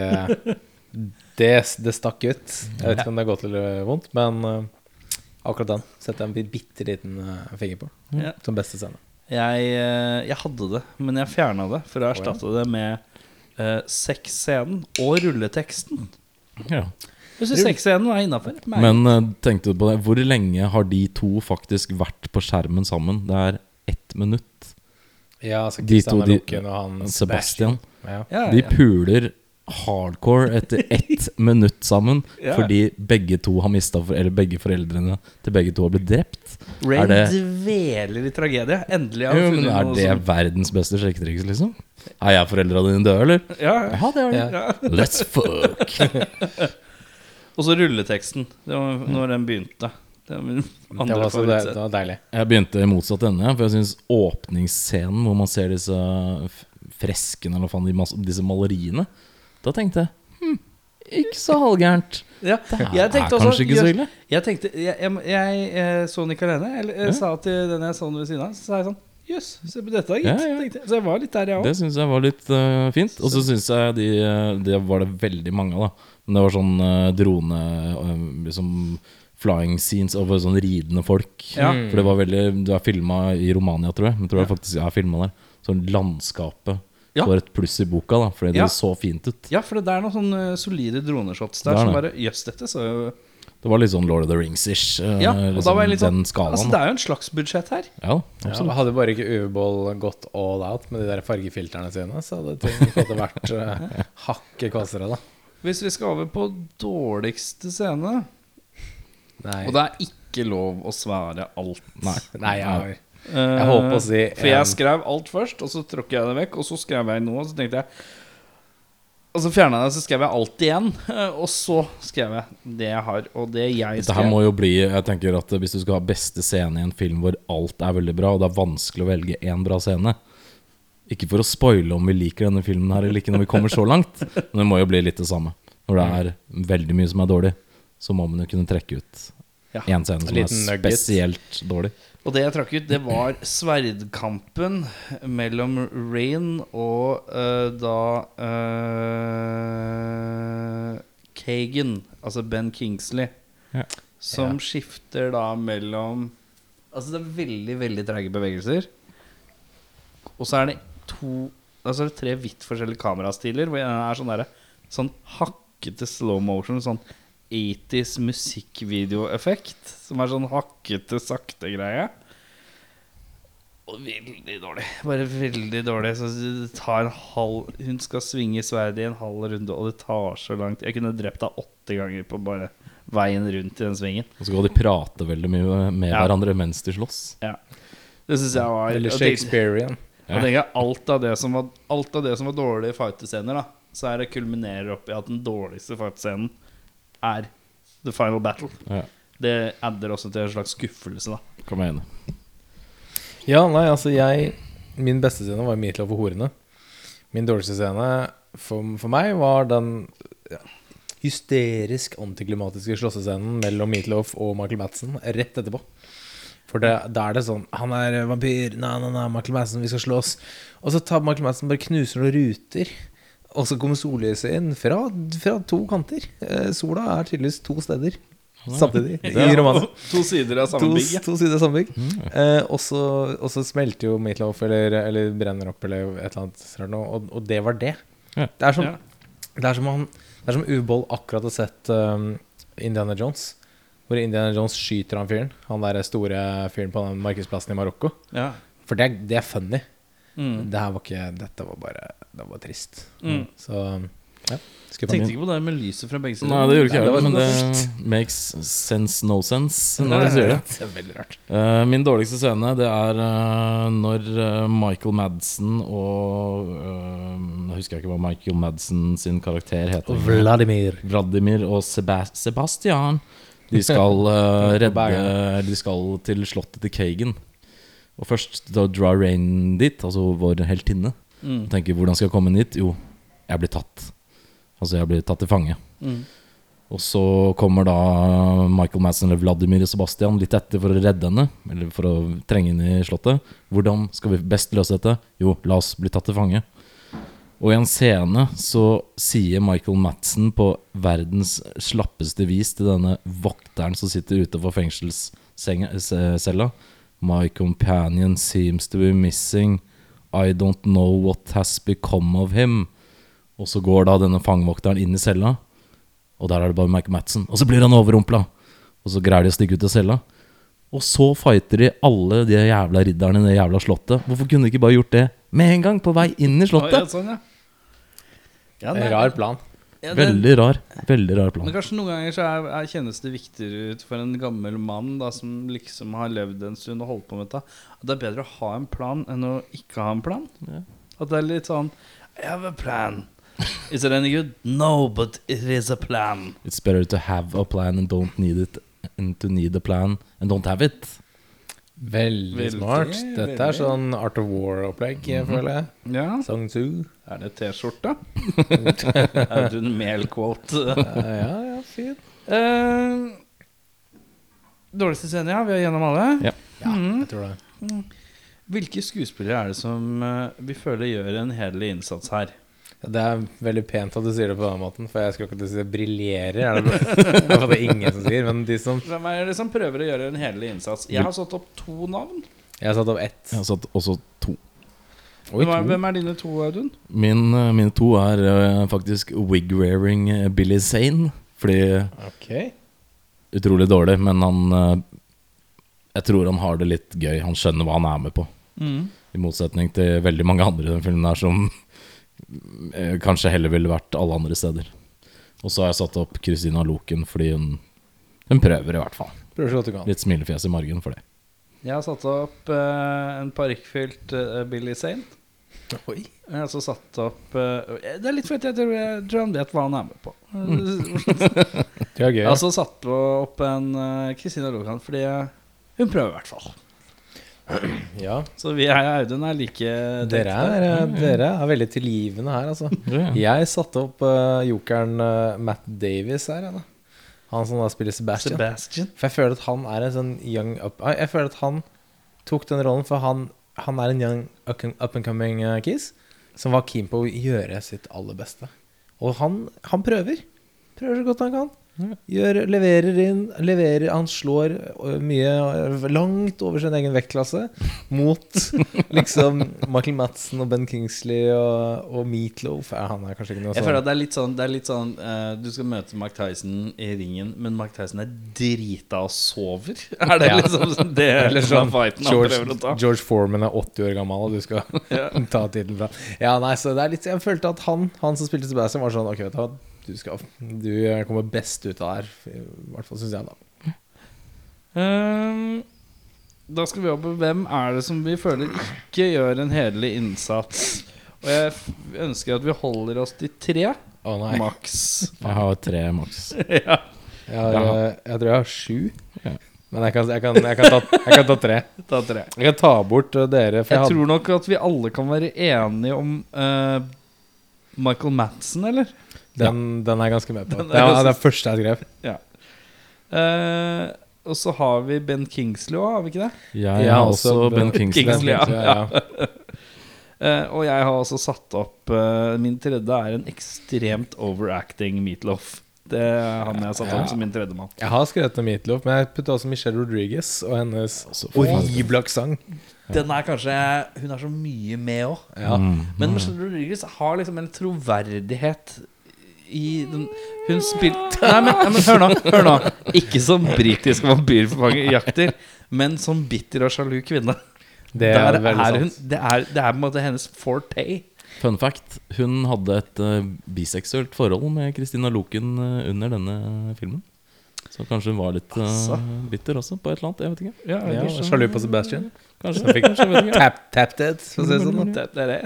Speaker 4: det, det stakk ut. Jeg vet ikke om det er godt eller vondt, men eh, akkurat den setter jeg en bitte liten eh, finger på.
Speaker 1: Ja.
Speaker 4: Som beste scene.
Speaker 1: jeg, eh, jeg hadde det, men jeg fjerna det for å erstatte det med uh, sexscenen og rulleteksten.
Speaker 3: Ja.
Speaker 1: Jeg syns sexscenen er innafor.
Speaker 3: Men eh, tenkte du på det, hvor lenge har de to faktisk vært på skjermen sammen? Det er ett minutt.
Speaker 4: Ja, altså
Speaker 3: De
Speaker 4: Christian
Speaker 3: to,
Speaker 4: er
Speaker 3: de-
Speaker 4: Loken og han
Speaker 3: Sebastian.
Speaker 4: Ja.
Speaker 1: ja,
Speaker 3: De
Speaker 1: ja.
Speaker 3: puler hardcore etter ett minutt sammen
Speaker 1: Ja.
Speaker 3: fordi begge to har mista for, Eller begge foreldrene til begge to har blitt drept.
Speaker 1: Rain
Speaker 3: er det-
Speaker 1: dveler i tragedie. Endelig har
Speaker 3: Jo,
Speaker 1: vi
Speaker 3: men
Speaker 1: funnet
Speaker 3: Er
Speaker 1: noe
Speaker 3: det
Speaker 1: som
Speaker 3: verdens beste sjekketriks, liksom? Er jeg foreldra dine døde, eller?
Speaker 1: ja, ja.
Speaker 3: Ja, det er det.
Speaker 1: Ja.
Speaker 3: Let's fuck.
Speaker 1: Og så rulleteksten, det var når den begynte. Det var min
Speaker 4: Det var,
Speaker 1: andre
Speaker 3: altså
Speaker 4: også, det,
Speaker 1: favorittscene.
Speaker 4: det var deilig.
Speaker 3: Jeg begynte i motsatt ende, for jeg syns åpningsscenen hvor man ser disse f- freskene, eller hva faen, de mas- disse maleriene Da tenkte jeg hm, ikke så halvgærent.
Speaker 1: Ja,
Speaker 3: her
Speaker 1: jeg tenkte
Speaker 3: er
Speaker 1: også
Speaker 3: kanskje ikke så
Speaker 1: gjør-
Speaker 3: ille.
Speaker 1: Jeg tenkte, jeg, jeg, jeg, eh, så den ikke alene. Jeg, eh, sa til den jeg så den ved siden av, så sa jeg sånn Jøss, se på dette, gitt.
Speaker 3: Ja, ja.
Speaker 1: tenkte jeg. Så jeg var litt der, jeg
Speaker 3: Det
Speaker 1: òg.
Speaker 3: syns jeg var litt eh, fint. Og så syns jeg de, eh, det var det veldig mange av, da. Men det var sånn eh, drone eh, Liksom flying scenes over sånn ridende folk.
Speaker 1: Ja.
Speaker 3: For det var veldig Du er filma i Romania, tror jeg. Men jeg tror jeg faktisk jeg er filma der. Sånn landskapet
Speaker 1: Ja.
Speaker 3: var et pluss i boka, da fordi
Speaker 1: Ja.
Speaker 3: det så fint ut.
Speaker 1: Ja, for det er noen sånne eh, solide droneshots der
Speaker 3: Det er
Speaker 1: som
Speaker 3: det.
Speaker 1: bare Jøss, dette så jo
Speaker 3: Det var litt sånn Lord of the Rings-ish. eh,
Speaker 1: Ja, og da
Speaker 3: liksom
Speaker 1: var jeg litt sånn,
Speaker 3: Den skalaen.
Speaker 1: Altså, det er jo en slags budsjett her.
Speaker 3: Ja,
Speaker 4: Ja,
Speaker 3: absolutt.
Speaker 4: hadde bare ikke Uveboll gått all out med de der fargefilterne sine, så hadde ting på en måte vært eh, hakket kvassere, da.
Speaker 1: Hvis vi skal over på dårligste scene
Speaker 4: Nei.
Speaker 1: Og det er ikke lov å svære alt.
Speaker 3: Nei.
Speaker 4: Nei, jeg har
Speaker 1: Eh,
Speaker 4: håper å si
Speaker 1: For
Speaker 4: en-
Speaker 1: jeg skrev alt først, og så tråkket jeg det vekk. Og så skrev jeg noe, og så tenkte jeg Og så fjerna jeg det, så skrev jeg alt igjen. eh, Og så skrev jeg det jeg har, og det jeg
Speaker 3: Dette her
Speaker 1: skrev.
Speaker 3: må jo bli Jeg tenker at Hvis du skal ha beste scene i en film hvor alt er veldig bra, og det er vanskelig å velge én bra scene Ikke for å spoile om vi liker denne filmen her eller ikke når vi kommer så langt, men det må jo bli litt det samme. Når det er veldig mye som er dårlig, så må man jo kunne trekke ut
Speaker 1: Ja.
Speaker 3: én scene som er
Speaker 4: liten nugget.
Speaker 3: spesielt dårlig.
Speaker 1: Og det jeg trakk ut, det var sverdkampen mellom Rain og eh, da eh, Kagan, altså Ben Kingsley,
Speaker 3: Ja.
Speaker 1: som
Speaker 4: Ja.
Speaker 1: skifter da mellom Altså det er veldig, veldig treige bevegelser. Og så er det to Altså er det tre vidt forskjellige kamerastiler, hvor den ene er sånn derre sånn hakkete slow motion, sånn 80s musikkvideoeffekt, som er sånn hakkete, sakte greie. Og veldig dårlig. Bare veldig dårlig. Så det tar en halv Hun skal svinge sverdet i en halv runde, og det tar så langt. Jeg kunne drept deg åtte ganger på bare veien rundt i den svingen.
Speaker 3: Og så skal de prate veldig mye med
Speaker 1: Ja.
Speaker 3: hverandre mens de slåss.
Speaker 1: Ja. Det syns jeg var
Speaker 4: Eller
Speaker 1: og det-
Speaker 4: Shakespearean.
Speaker 1: Jeg tenker alt av det som var, alt av det som var dårlige fightescener, da, så er det kulminerer opp i at den dårligste fightescenen er The Final Battle.
Speaker 3: Ja,
Speaker 1: Det adder også til en slags skuffelse, da.
Speaker 3: kan være enig.
Speaker 4: Ja, nei, altså jeg Min beste scene var Meatloaf og horene. Min dårligste scene for, for meg var den ja, hysterisk antiklimatiske slåssescenen mellom Meatloaf og Michael Madsen rett etterpå. For det, da er det sånn Han er vampyr. Nei, nei, nei, Michael Madsen, vi skal slåss. Og så tar Michael Madsen bare knuser noen ruter. Og så kommer sollyset inn fra, fra to kanter. Eh, sola er tydeligvis to steder samtidig i romanen.
Speaker 1: To sider av samme
Speaker 4: To-
Speaker 1: bygg. Ja.
Speaker 4: To sider av samme bygg. Eh, og så- og så smelter jo Meatloaf eller, eller brenner opp eller et eller annet. sånt noe, Og, og det var det.
Speaker 3: Ja.
Speaker 4: Det er som,
Speaker 1: Ja.
Speaker 4: det er som han Det er som Uvold akkurat har sett um, Indiana Jones. Hvor Indiana Jones skyter han fyren. Han der store fyren på den markedsplassen i Marokko.
Speaker 1: Ja.
Speaker 4: For det, er- det er funny.
Speaker 1: Mm.
Speaker 4: Det her var ikke Dette var bare Det var trist.
Speaker 1: Mm.
Speaker 4: Så um, ja. Skuffa
Speaker 1: Tenkte ikke på det med lyset fra begge sider.
Speaker 3: Nei, det gjorde ikke jeg
Speaker 4: Nei,
Speaker 3: heller,
Speaker 4: det var
Speaker 3: men
Speaker 4: sånn-
Speaker 3: det makes sense no sense når du sier det.
Speaker 4: Det er veldig rart.
Speaker 3: Eh, min dårligste scene det er eh, når eh, Michael Madsen og eh, Jeg husker ikke hva Michael Madsen sin karakter heter.
Speaker 4: Vladimir.
Speaker 3: Vladimir og Seba Sebastian. De skal eh, redde
Speaker 4: Bergen.
Speaker 3: De skal til slottet til Kagan. Og først da drar Rain dit, altså vår heltinne.
Speaker 1: Mm.
Speaker 3: Og tenker hvordan skal jeg komme inn dit? Jo, jeg blir tatt. Altså jeg blir tatt til fange.
Speaker 1: Mm.
Speaker 3: Og så kommer da Michael Madsen eller Vladimir og Sebastian litt etter for å redde henne. Eller for å trenge henne i slottet. Hvordan skal vi best løse dette? Jo, la oss bli tatt til fange. Og i en scene så sier Michael Madsen på verdens slappeste vis til denne vokteren som sitter utenfor fengselscella eh, My companion seems to be missing. I don't know what has become of him. Og så går da denne fangevokteren inn i cella, og der er det bare Michael Madsen. Og så blir han overrumpla, og så greier de å stikke ut av cella. Og så fighter de alle de jævla ridderne i det jævla slottet. Hvorfor kunne de ikke bare gjort det med en gang, på vei inn
Speaker 1: Å,
Speaker 3: i
Speaker 1: ja,
Speaker 3: slottet?
Speaker 1: sånn, ja. Ja, nei.
Speaker 4: Rar plan.
Speaker 1: Ja, det-
Speaker 3: Veldig rar. Veldig rar
Speaker 1: Men
Speaker 3: plan.
Speaker 1: kanskje noen ganger så er, er kjennes det viktigere ut for en gammel mann da, som liksom har levd en stund og holdt på med dette, at det er bedre å ha en plan enn å ikke ha en plan. At det er litt sånn I have a plan. Is it any good? No, but it is a plan.
Speaker 3: It's better to have a plan and don't need it and to need a plan and don't have it.
Speaker 4: Veldig,
Speaker 1: Veldig,
Speaker 4: smart. Dette er
Speaker 1: veldig. Mm-hmm.
Speaker 4: sånn Art of War-opplegg, jeg føler jeg.
Speaker 1: Ja.
Speaker 4: Sang Tzu.
Speaker 1: Er det T-skjorte? Audun Mehl-quote.
Speaker 4: Eh, Ja, ja, fin.
Speaker 1: Eh, dårligste scene, ja. Vi er gjennom alle.
Speaker 3: Ja.
Speaker 4: Ja,
Speaker 1: Mm.
Speaker 4: jeg tror det.
Speaker 1: Hvilke skuespillere er det som eh, vi føler gjør en hederlig innsats her?
Speaker 4: Ja, Det er veldig pent at du sier det på den måten, for jeg skulle akkurat si briljerer. Er det, det er det ingen som sier, men de som
Speaker 1: Hvem er det som prøver å gjøre en hederlig innsats? Jeg har satt opp to navn.
Speaker 4: Jeg har satt opp ett.
Speaker 3: Jeg har satt også to.
Speaker 4: Oi,
Speaker 1: hvem, er,
Speaker 4: to.
Speaker 1: hvem er dine to, Audun?
Speaker 3: Min, eh, mine to er eh, faktisk wig-wearing eh, Billy Zane. Fordi
Speaker 4: Ok.
Speaker 3: utrolig dårlig, men han eh, Jeg tror han har det litt gøy. Han skjønner hva han er med på.
Speaker 1: Mm.
Speaker 3: I motsetning til veldig mange andre i den filmen her som eh, kanskje heller ville vært alle andre steder. Og så har jeg satt opp Christina Loken fordi hun Hun prøver, i hvert fall.
Speaker 4: Prøver så godt du kan.
Speaker 3: Litt smilefjes i margen for det.
Speaker 1: Jeg har satt opp eh, en parykkfylt eh, Billy Zane.
Speaker 4: Oi.
Speaker 1: Jeg har også satt opp eh, Det er litt fordi jeg tror, jeg tror han vet hva han er med på.
Speaker 4: Mm.
Speaker 1: Eh,
Speaker 4: Det er gøy.
Speaker 1: Jeg har også satt opp en eh, Christina Logan fordi jeg, hun prøver i hvert fall.
Speaker 4: ja.
Speaker 1: Så vi her i Audun er like
Speaker 4: dere, er,
Speaker 1: Mm.
Speaker 4: eh, dere er veldig tilgivende her, altså.
Speaker 3: Ja.
Speaker 4: Jeg satte opp eh, jokeren eh, Matt Davies her. jeg, da. Han som da spiller Sebastian.
Speaker 1: Sebastian.
Speaker 4: For jeg føler at han er en sånn young up Nei, Jeg føler at han tok den rollen, for han, han er en young up and, up and coming eh, kis som var keen på å gjøre sitt aller beste. Og han, han prøver. Prøver så godt han
Speaker 1: Mm.
Speaker 4: kan. Gjør, leverer inn, leverer Han slår eh, mye eh, langt over sin egen vektklasse mot liksom Michael Madsen og Ben Kingsley og, og Meatloaf. Ja, han er kanskje ikke noe
Speaker 1: Jeg føler
Speaker 4: sånn
Speaker 1: at det er litt sånn, det er litt sånn eh, Du skal møte Mark Tyson i ringen, men Mark Tyson er drita og sover. Er det
Speaker 4: Ja.
Speaker 1: liksom sånn det
Speaker 4: Eller
Speaker 1: er
Speaker 4: sånn
Speaker 1: fighten han
Speaker 4: George,
Speaker 1: prøver å ta?
Speaker 4: George Foreman er 80 år gammel, og du skal
Speaker 1: Ja.
Speaker 4: ta tittelen fra Ja, nei, så det er litt Jeg følte at han, han som spilte Sebastian, var sånn Ok, vet du hva, du, skal, du eh, kommer best ut av det her. I hvert fall syns jeg, da.
Speaker 1: Ehm, da skal vi jobbe Hvem er det som vi føler ikke gjør en hederlig innsats? Og jeg f- ønsker at vi holder oss til tre,
Speaker 4: Å nei.
Speaker 1: maks.
Speaker 3: Jeg har tre maks.
Speaker 1: ja.
Speaker 4: Jeg, har,
Speaker 3: Jaha.
Speaker 4: eh, jeg tror jeg har sju.
Speaker 3: Ja.
Speaker 4: Men jeg kan, jeg, kan, jeg, kan ta, jeg kan ta tre.
Speaker 1: Da tre.
Speaker 4: Jeg kan ta bort eh, dere. For
Speaker 1: Jeg
Speaker 4: jeg, hadde,
Speaker 1: tror nok at vi alle kan være enige om eh, Michael Madsen, eller?
Speaker 4: den, den er jeg ganske med på.
Speaker 1: Den er
Speaker 4: Det var
Speaker 1: ganske-
Speaker 4: det første jeg skrev.
Speaker 1: Eh, og så har vi Ben Kingsley òg, har vi ikke det?
Speaker 3: Jeg har også Ben Kingsley.
Speaker 1: Kingsley, ja.
Speaker 4: ja.
Speaker 1: Eh, og jeg har også satt opp eh, Min tredje er en ekstremt overacting meatloaf. Det er han jeg har satt
Speaker 4: Ja.
Speaker 1: opp som min tredjemann.
Speaker 4: Jeg har skrevet om Meatloaf, men jeg putta også Michelle Rodriguez og hennes
Speaker 3: Også
Speaker 4: horrible aksent.
Speaker 1: Den er kanskje Hun er så mye med òg.
Speaker 4: Ja.
Speaker 3: Mm.
Speaker 1: Men Michelle Rodriguez har liksom en troverdighet i den Hun spilte Nei, men, nei, men hør, nå, hør nå. Ikke som britisk vampyrjakter, men som bitter og sjalu kvinne.
Speaker 4: Det
Speaker 1: Der
Speaker 4: er
Speaker 1: er
Speaker 4: veldig
Speaker 1: hun,
Speaker 4: sant.
Speaker 1: det, er, det er på en måte hennes forte.
Speaker 3: Fun fact, hun hadde et eh, biseksuelt forhold med Christina Loken eh, under denne filmen. Så kanskje hun var litt eh,
Speaker 1: Altså.
Speaker 3: bitter også, på et eller annet. Jeg vet ikke.
Speaker 1: Ja,
Speaker 4: Ja, Sjalu på Sebastian.
Speaker 3: Kanskje.
Speaker 4: Så fikk-
Speaker 3: kanskje jeg, vet ikke.
Speaker 4: Tap, tap det, for å si det sånn.
Speaker 1: det, det er det.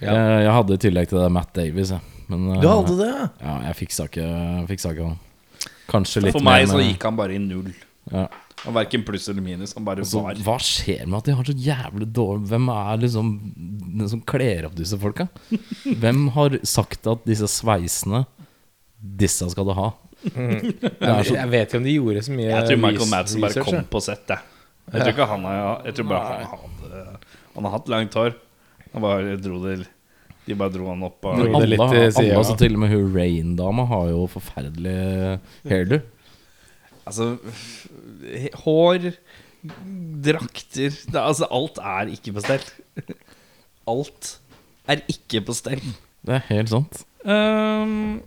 Speaker 4: Ja.
Speaker 3: Jeg, jeg hadde i tillegg til det Matt Davies, jeg. Men eh,
Speaker 4: Du hadde det, ja?
Speaker 3: ja, jeg fiksa ikke, fiksa ikke han. Kanskje litt
Speaker 1: For meg
Speaker 3: mer
Speaker 1: så
Speaker 3: med-
Speaker 1: gikk han bare i null.
Speaker 3: ja.
Speaker 1: Og Verken pluss eller minus. Han bare
Speaker 3: Så,
Speaker 1: var.
Speaker 3: hva skjer med at de har så jævlig dårlig Hvem er liksom den som kler opp disse folka? Hvem har sagt at disse sveisene Disse skal du ha?
Speaker 4: Mm. Jeg, jeg vet ikke om de gjorde så mye
Speaker 1: Jeg tror Michael
Speaker 4: res-
Speaker 1: Madsen bare
Speaker 4: research,
Speaker 1: kom
Speaker 4: ja.
Speaker 1: på sett, jeg. Jeg tror ikke han har Jeg tror bare han hadde Han har hatt langt hår. Han bare dro det De bare dro han opp av
Speaker 4: Dro det
Speaker 3: Alle,
Speaker 4: litt
Speaker 3: har-
Speaker 4: til siden,
Speaker 3: alle
Speaker 4: ja.
Speaker 3: altså til og med hun Rain-dama har jo forferdelig hairdo.
Speaker 1: Altså Hår, drakter det, Altså, alt er ikke på stell. Alt er ikke på stell.
Speaker 3: Det er helt sant.
Speaker 1: Ehm,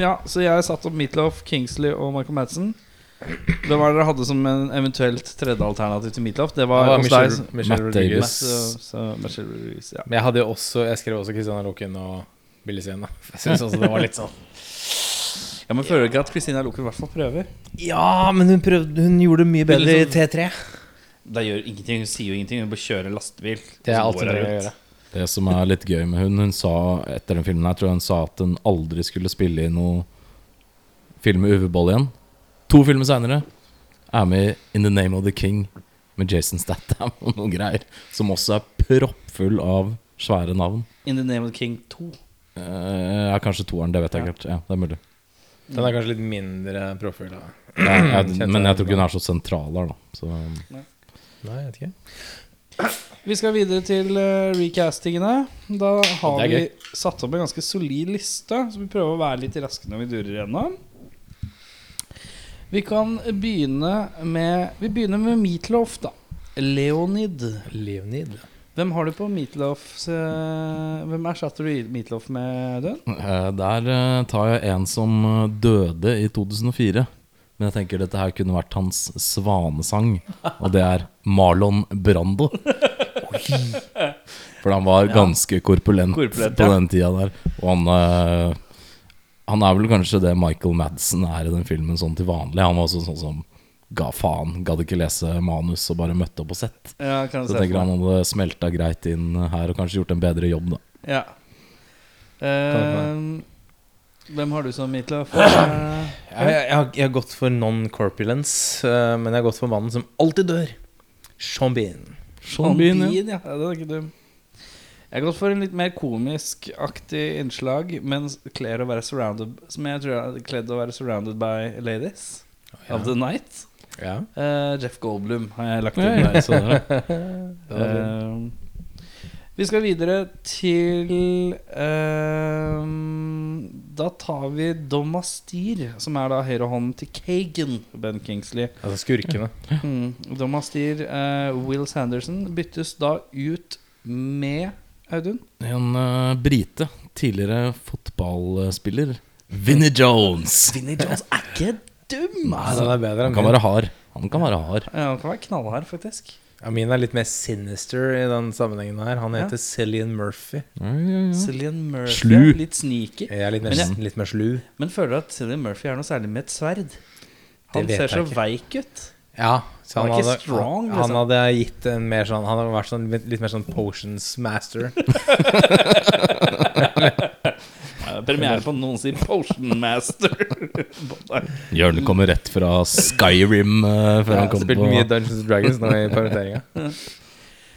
Speaker 1: ja, så jeg satt opp Meatloaf, Kingsley og Michael Madsen. Hvem var det dere hadde som en eventuelt tredje alternativ til Meatloaf? Det var
Speaker 4: Ja,
Speaker 1: hos
Speaker 4: Michelle-
Speaker 1: deg.
Speaker 4: Michelle
Speaker 3: Matt
Speaker 4: Rodriguez.
Speaker 3: Davis.
Speaker 1: Matt, og- så Michelle Rodriguez, ja.
Speaker 4: Men jeg hadde jo også Jeg skrev også Christian Loken og Billy Zane. da. Jeg synes også det var litt sånn
Speaker 1: Ja, men føler du ikke at Christina Loken i hvert fall prøver?
Speaker 4: Ja, men hun, prøvde, hun sånn- gjorde det mye
Speaker 1: bedre i
Speaker 4: T3.
Speaker 1: Det gjør ingenting, Hun sier jo ingenting. Hun bare kjører lastebil.
Speaker 4: Det er
Speaker 1: og
Speaker 4: alt
Speaker 1: så
Speaker 4: hun
Speaker 1: går
Speaker 4: trenger å
Speaker 1: hun ut.
Speaker 4: gjøre.
Speaker 3: Det som er litt gøy med hun Hun sa etter den filmen her Tror jeg hun sa at hun aldri skulle spille i noe film med Uwe Boll igjen. To filmer seinere er med i In the Name of the King med Jason Statham og noen greier. Som også er proppfull av svære navn.
Speaker 1: In the name of the king 2.
Speaker 3: Eh, ja, kanskje toeren, det vet jeg
Speaker 1: Ja.
Speaker 3: ikke. helt. Ja, det er mulig.
Speaker 4: Den er kanskje litt mindre profil. da.
Speaker 3: Ja, jeg, men jeg tror ikke hun er så sentral her, da. Så um,
Speaker 4: Nei, jeg vet ikke.
Speaker 1: Vi skal videre til eh, recastingene. Da har
Speaker 4: Det er
Speaker 1: vi satt opp en ganske solid liste, så vi prøver å være litt raske når vi durer gjennom. Vi kan begynne med Vi begynner med Meatloaf, da. Leonid.
Speaker 4: Leonid.
Speaker 1: Hvem har du på Meatloafs eh, Hvem erstatter du i Meatloaf med, Audun?
Speaker 3: Eh, Der eh, tar jeg en som eh, døde i 2004. Men jeg tenker dette her kunne vært hans svanesang, og det er Marlon Brando. For han var ganske korpulent,
Speaker 1: Korpulent,
Speaker 3: på
Speaker 1: ja.
Speaker 3: den tida der. Og han eh, Han er vel kanskje det Michael Madsen er i den filmen sånn til vanlig. Han var også sånn som ga faen, gadd ikke lese manus og bare møtte opp og sett.
Speaker 1: Ja, kan jeg
Speaker 3: Så jeg
Speaker 1: se
Speaker 3: tenker
Speaker 1: for
Speaker 3: han
Speaker 1: meg.
Speaker 3: hadde smelta greit inn her og kanskje gjort en bedre jobb, da.
Speaker 1: Ja.
Speaker 4: Kan
Speaker 1: Eh, hvem har du som Eh, Mitløf?
Speaker 4: Jeg, jeg, jeg, har- jeg har gått for non-corpulence, eh, men jeg har gått for mannen som alltid dør. Sean Bean.
Speaker 1: Sean Bean,
Speaker 3: Sånn ja.
Speaker 1: ja. ja. Det er ikke dum. Jeg har gått for en litt mer komisk-aktig innslag, men s- kler å være surrounded Som jeg tror jeg er kledd å være surrounded by ladies of the night.
Speaker 4: Ja.
Speaker 1: Eh, Jeff Goldblum har jeg lagt
Speaker 3: Ja,
Speaker 1: inn
Speaker 3: ja,
Speaker 1: der.
Speaker 3: så der, ja.
Speaker 1: Eh, vi skal videre til eh, Da tar vi Domastir, som er da høyrehånden til Kagan, Ben Kingsley.
Speaker 4: Altså skurkene.
Speaker 1: Mm. Domastir eh, Will Sanderson byttes da ut med Audun.
Speaker 3: En eh, brite, tidligere fotballspiller. Vinnie Jones.
Speaker 1: Vinnie Jones er ikke dum!
Speaker 4: Nei, Ah, den er bedre
Speaker 3: Han
Speaker 4: enn
Speaker 3: kan
Speaker 4: min.
Speaker 3: være hard. Han kan være hard.
Speaker 1: Ja, han kan være knallhard, faktisk.
Speaker 4: Ja, min er litt mer sinister i den sammenhengen her. Han
Speaker 1: Ja.
Speaker 4: heter Cillian Murphy.
Speaker 1: Cillian Murphy
Speaker 3: Slu.
Speaker 1: er litt sneaky.
Speaker 4: Jeg er litt mer,
Speaker 1: Men jeg-
Speaker 4: litt mer slu.
Speaker 1: Men føler du at Cillian Murphy er noe særlig med et sverd? Han
Speaker 4: vet
Speaker 1: ser
Speaker 4: jeg
Speaker 1: så
Speaker 4: ikke.
Speaker 1: veik ut.
Speaker 4: Ja, så
Speaker 1: Han er
Speaker 4: han,
Speaker 1: ikke
Speaker 4: hadde,
Speaker 1: strong,
Speaker 4: han, han
Speaker 1: liksom.
Speaker 4: hadde gitt en mer sånn Han hadde vært sånn, litt litt mer sånn potions master.
Speaker 1: Ja, Premiere på noen sier Potion Master.
Speaker 3: Jørn kommer rett fra Skyrim eh, før
Speaker 4: Ja,
Speaker 3: han kom
Speaker 4: spilt
Speaker 3: på
Speaker 4: mye Dungeons and Dragons nå i permitteringa.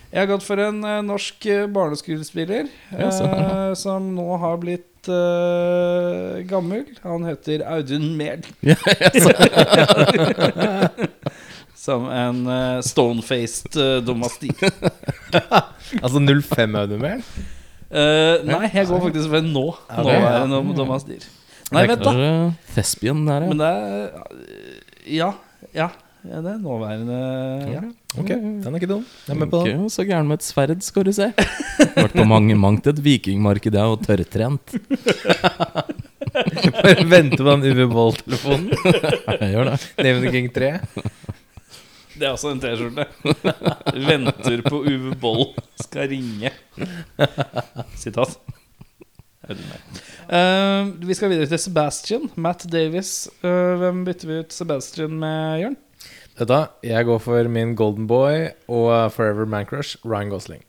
Speaker 1: Jeg har gått for en eh, norsk eh, barneskuespiller
Speaker 3: Ja, se der, ja.
Speaker 1: eh, som nå har blitt eh, gammel. Han heter Audun Mehl.
Speaker 3: Ja,
Speaker 1: som en eh, stone-faced eh, domestikk.
Speaker 4: Altså 05 Audumel?
Speaker 1: Eh, nei, jeg går faktisk for en nå.
Speaker 4: Ja,
Speaker 1: Nå
Speaker 4: det-
Speaker 1: er det noe med domestikk. Nei, vent, da.
Speaker 3: Der, eh, Thespian der, ja.
Speaker 1: Men det er eh, Ja. Ja. ja det er nåværende ja.
Speaker 4: Ok, den er ikke dum. Jeg er med på
Speaker 3: Mm. Ok,
Speaker 4: den.
Speaker 3: så gæren med et sverd, skal du se. Vært på mange mangt et vikingmarked, jeg, og tørrtrent.
Speaker 4: Bare vente på den Uwe Boll-telefonen.
Speaker 3: Jeg gjør det.
Speaker 4: Navnet King 3.
Speaker 1: Det er også en T-skjorte. Venter på Uwe Boll skal ringe. Sitat. Jeg vet ikke. Eh, vi skal videre til Sebastian. Matt Davis. Eh, hvem bytter vi ut Sebastian med, Jørn?
Speaker 4: Dette, jeg går for min Golden Boy og uh, Forever Man Crush, Ryan Gosling.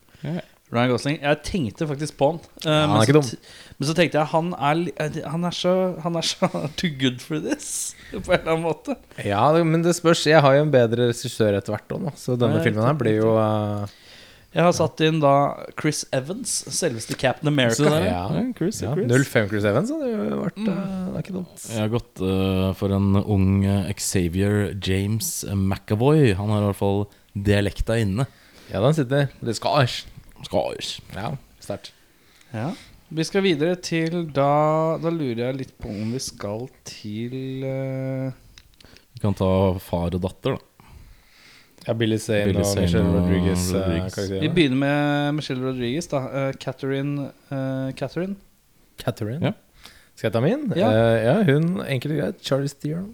Speaker 1: Ryan Gosling. Jeg tenkte faktisk på han. eh,
Speaker 4: han er
Speaker 1: men, så
Speaker 4: ikke dum.
Speaker 1: t- men så tenkte jeg han er, li- eh, han er så Han er så too good for this, på en eller annen måte.
Speaker 4: Ja, det- men det spørs. Jeg har jo en bedre regissør etter hvert òg, så denne
Speaker 1: Nei,
Speaker 4: filmen her blir jo uh,
Speaker 1: Jeg har satt inn da Chris Evans, selveste Captain America.
Speaker 3: Så der,
Speaker 4: Ja.
Speaker 3: ja. Chris,
Speaker 4: ja,
Speaker 3: ja, Chris.
Speaker 4: 05 Chris Evans hadde jo vært
Speaker 3: Mm.
Speaker 4: uh, Det er ikke dumt.
Speaker 3: Jeg har gått eh, for en ung eh, Xavier James McAvoy. Han har i hvert fall dialekta inne.
Speaker 4: Ja, den sitter. Det skal æsj.
Speaker 3: Skars.
Speaker 4: Ja, sterkt.
Speaker 1: Ja. Vi skal videre til da Da lurer jeg litt på om vi skal til eh,
Speaker 3: Vi kan ta far og datter, da.
Speaker 4: Ja, Billy Zane
Speaker 3: Billy
Speaker 4: og
Speaker 3: Zane
Speaker 4: Michelle
Speaker 3: og
Speaker 4: Rodriguez. uh,
Speaker 3: Rodriguez.
Speaker 1: Vi
Speaker 4: karakterene.
Speaker 1: begynner med Michelle Rodriguez, da. eh, Catherine eh, Catherine.
Speaker 4: Catherine.
Speaker 3: Ja.
Speaker 4: Skal jeg ta min?
Speaker 1: Ja.
Speaker 4: Eh, ja hun enkelt og greit. Charlie Theron.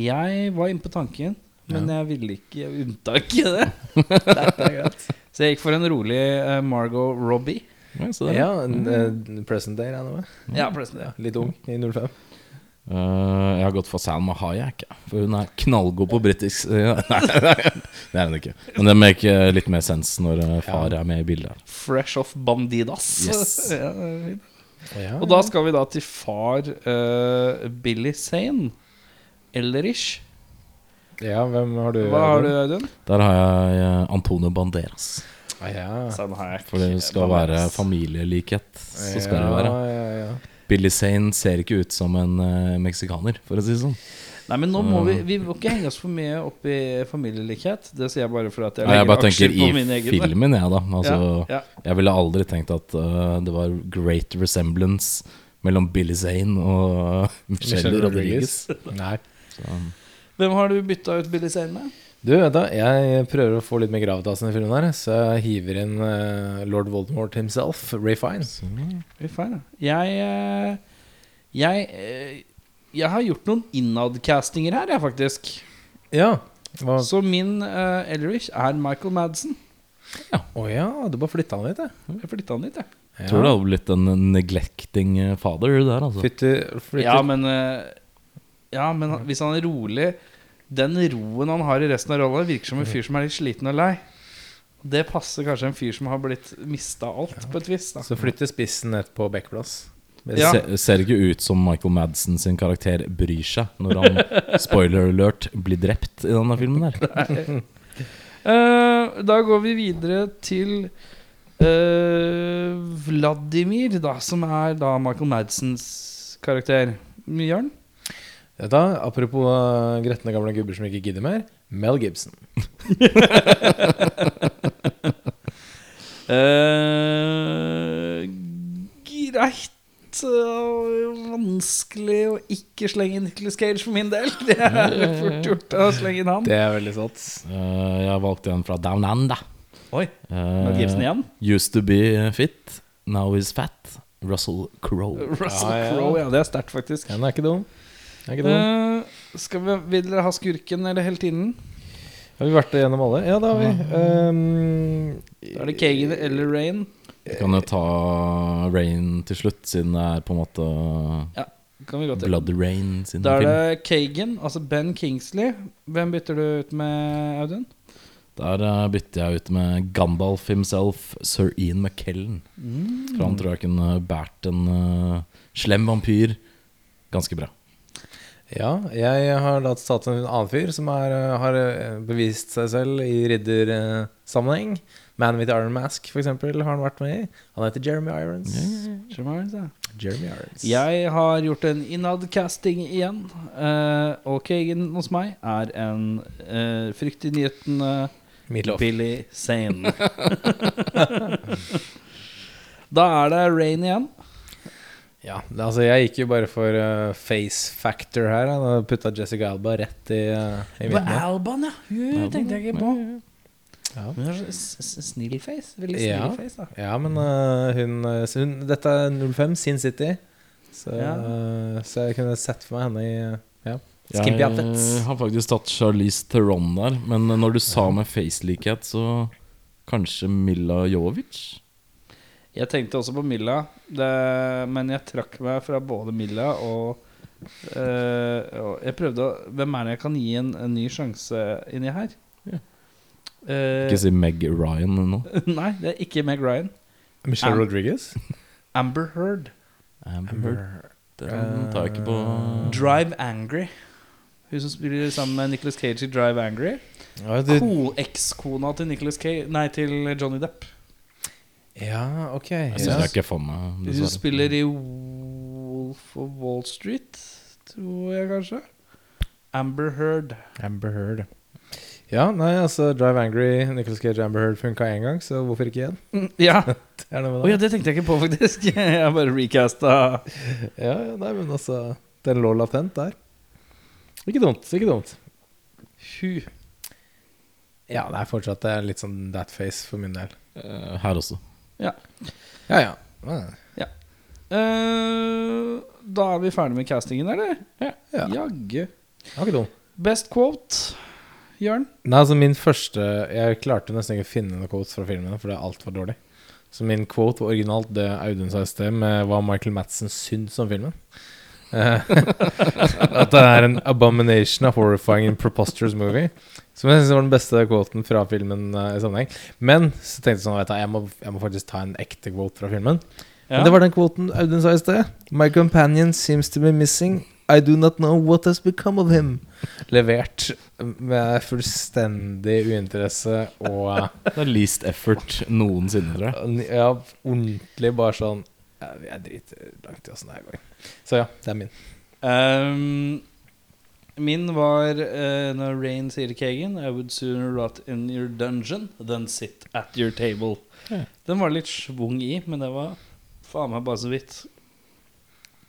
Speaker 1: Jeg var inne på tanken, men jeg ville ikke Jeg unnta ikke det. det er greit. Så jeg gikk for en rolig eh, Margot Robbie.
Speaker 3: Ja, se der, ja.
Speaker 4: Ja, en, eh, present day, regner jeg med.
Speaker 1: Ja, forresten. Ja.
Speaker 4: Litt ung i 05.
Speaker 3: Eh, jeg har gått for Salma Hayek, jeg. for hun er knallgod på britisk ja, Nei, det er hun ikke. Men det maker litt mer sens når eh, far er med i bildet. her.
Speaker 1: Fresh off Bandidas.
Speaker 3: Yes.
Speaker 1: Ja, det er fint.
Speaker 4: Ja.
Speaker 1: og da skal vi da til far eh, Billy Sane. Ellerish.
Speaker 4: ja, hvem har du?
Speaker 1: Hva har du, Audun?
Speaker 3: Der har jeg eh, Antonio Banderas.
Speaker 4: Ah, ja.
Speaker 1: Sånn
Speaker 3: For det skal være familielikhet. Så skal det være.
Speaker 4: Ja, ja, ja.
Speaker 3: Billy Zane ser ikke ut som en eh, meksikaner, for å si det sånn.
Speaker 1: Nei, men nå må vi
Speaker 3: Mm.
Speaker 1: Vi må ikke henge oss for mye opp i familielikhet. Det sier jeg bare for at jeg
Speaker 3: Nei, jeg bare tenker i
Speaker 1: mine egne.
Speaker 3: filmen, jeg, da. Altså,
Speaker 1: ja, ja.
Speaker 3: Jeg ville aldri tenkt at eh, det var great resemblance mellom Billy Zane og eh, Michelle,
Speaker 4: Michelle
Speaker 3: Rodriguez.
Speaker 4: Rodriguez. Nei.
Speaker 1: Hvem har du bytta ut Billy Sane med?
Speaker 4: Du, vet da, jeg prøver å få litt mer gravitas i denne filmen, her så jeg hiver inn eh, lord Voldemort himself, Ray Fiennes.
Speaker 1: Fy faen, ja. Jeg eh, Jeg eh, Jeg har gjort noen innadcastinger her, jeg, faktisk.
Speaker 4: Ja. Hva?
Speaker 1: Så min eh, Elrich er Michael Madsen.
Speaker 4: Å ja, du bare flytta han litt, jeg.
Speaker 1: Jeg flytta han dit, jeg.
Speaker 4: Ja.
Speaker 3: Tror det hadde blitt en neglecting eh, father der, altså.
Speaker 4: Flytte- flytte-
Speaker 1: Ja, men, eh, ja, men han- hvis han er rolig Den roen han har i resten av rolla, virker som en fyr som er litt sliten og lei. Det passer kanskje en fyr som har blitt mista alt, på et vis. Da.
Speaker 4: Så flytter spissen ned på backplass.
Speaker 1: Ja.
Speaker 3: Se, ser ikke ut som Michael Madsen sin karakter bryr seg når han, spoiler alert, blir drept i denne filmen der.
Speaker 1: Eh, da går vi videre til eh, Vladimir, da, som er da Michael Madsens karakter. Jørn?
Speaker 4: Ja, Da, apropos eh, gretne gamle gubber som ikke gidder mer. Mel Gibson.
Speaker 1: Eh, greit. og vanskelig å ikke slenge inn Nicholas Cage for min del. Det er fort gjort å slenge inn han.
Speaker 4: Det er veldig sant.
Speaker 3: Eh, jeg valgte en fra Down Under.
Speaker 1: Oi,
Speaker 3: Uh,
Speaker 1: Mel Gibson igjen?
Speaker 3: Used to be fit, now he's fat. Russell Crowe.
Speaker 1: Russell
Speaker 4: Ja, ja.
Speaker 1: Crowe, ja. Det er sterkt, faktisk.
Speaker 4: Den er ikke dum. Den Er ikke dum.
Speaker 1: Eh, skal vi, vil dere ha skurken eller heltinnen?
Speaker 4: Har vi vært gjennom alle? Ja, det har vi. Ehm,
Speaker 1: Da er det Kagan eller Rain.
Speaker 3: Vi kan jo ta Rain til slutt, siden det er på en måte
Speaker 1: Kan vi gå til.
Speaker 3: Blood Rain sin
Speaker 1: Da er
Speaker 3: film.
Speaker 1: det Kagan, altså Ben Kingsley. Hvem bytter du ut med, Audun?
Speaker 3: Der eh, bytter jeg ut med Gandalf himself, sir Ian McKellen.
Speaker 1: Mm.
Speaker 3: For han tror jeg kunne båret en eh, slem vampyr ganske bra.
Speaker 4: ja, jeg har da tatt en annen fyr som er, eh, har eh, bevist seg selv i riddersammenheng. Man with Iron Mask, for eksempel, har han vært med i. Han heter Jeremy Irons.
Speaker 1: Shermans, ja.
Speaker 4: Jeremy Irons.
Speaker 1: Jeg har gjort en innad-casting igjen. eh, og Kagan hos meg er en uh, fryktinngytende
Speaker 4: Meatloaf.
Speaker 1: Billy Sane. da er det Rain igjen.
Speaker 4: Ja, det- altså jeg gikk jo bare for eh, face factor her. da. Da putta Jessica Alba rett i, eh, i
Speaker 1: Det var
Speaker 4: midten.
Speaker 1: Alban, ja. Hun tenkte jeg ikke på.
Speaker 4: Ja.
Speaker 1: Hun har så s- s- snill face. Veldig snill
Speaker 4: Ja.
Speaker 1: face, da.
Speaker 4: Ja, men eh, hun, eh, så hun Dette er 05, Sin City. Så,
Speaker 1: Ja.
Speaker 4: eh, så jeg kunne sett for meg henne i eh, ja.
Speaker 3: Jeg
Speaker 4: Skimpy outfits.
Speaker 3: har faktisk tatt Charlize Theron der, men når du sa med facelikhet, så kanskje Milla Jovovic?
Speaker 1: Jeg tenkte også på Milla, det, men jeg trakk meg fra både Milla og eh, og Jeg prøvde å Hvem er det jeg kan gi en, en ny sjanse inni her?
Speaker 3: Ja.
Speaker 1: Eh,
Speaker 3: Ikke si Meg Ryan nå.
Speaker 1: nei, det er ikke Meg Ryan.
Speaker 4: Michelle
Speaker 1: Am-
Speaker 4: Rodriguez.
Speaker 1: Amber Heard.
Speaker 3: Amber Heard. Den tar jeg ikke på
Speaker 1: Drive Angry. Hun som spiller sammen med Nicolas Cage i Drive Angry.
Speaker 4: Ja, du,
Speaker 1: Ko- Ekskona til Nicolas Cage Nei, til Johnny Depp.
Speaker 4: ja, ok.
Speaker 3: Jeg
Speaker 4: ja.
Speaker 3: syns jeg ikke får meg,
Speaker 1: Hun
Speaker 3: dessverre.
Speaker 1: spiller i Wolf of Wall Street, tror jeg kanskje. Amber Heard.
Speaker 4: Amber Heard. Ja, nei, altså Drive Angry, Nicholas Cage og Amber Heard funka én gang, så hvorfor ikke igjen?
Speaker 3: Mm.
Speaker 1: Ja.
Speaker 4: Det er noe
Speaker 1: Å
Speaker 4: med det.
Speaker 1: ja, det tenkte jeg ikke på, faktisk. Jeg bare recasta.
Speaker 4: Ja, ja, nei, men altså Den lå latent der. Ikke dumt, ikke dumt.
Speaker 1: Hun
Speaker 4: Ja, det er fortsatt eh, litt sånn that face for min del.
Speaker 3: Eh, Her også.
Speaker 4: Ja, ja. Ja,
Speaker 1: Eh, Da er vi ferdig med castingen, eller?
Speaker 4: ja.
Speaker 1: Jaggu.
Speaker 4: Det var ikke dum.
Speaker 1: Best quote, Jørn?
Speaker 4: Nei, altså min første Jeg klarte nesten ikke å finne noen quotes fra filmene, for det er altfor dårlig. Så min quote var originalt det Audun sa i sted, med hva Michael Madsen syns om filmen. Eh, At det er en abomination, a horrifying and preposterous movie. Som jeg syns var den beste quoten fra filmen eh, i sammenheng. Men så tenkte jeg sånn, vet du, jeg må, jeg må faktisk ta en ekte quote fra filmen. Men det var den kvoten Audun sa i sted. My companion seems to be missing. I do not know what has become of him. Levert med fullstendig uinteresse og
Speaker 3: Det er least effort noensinne, tror jeg.
Speaker 4: ja, ordentlig bare sånn ja, Jeg driter langt i åssen det her går. Så ja, det er min.
Speaker 1: Um, min var eh, når Rain sier Kagan I would sooner rot in your dungeon than sit at your table.
Speaker 3: Ja.
Speaker 1: Den var litt schwung i, men det var faen meg bare så vidt.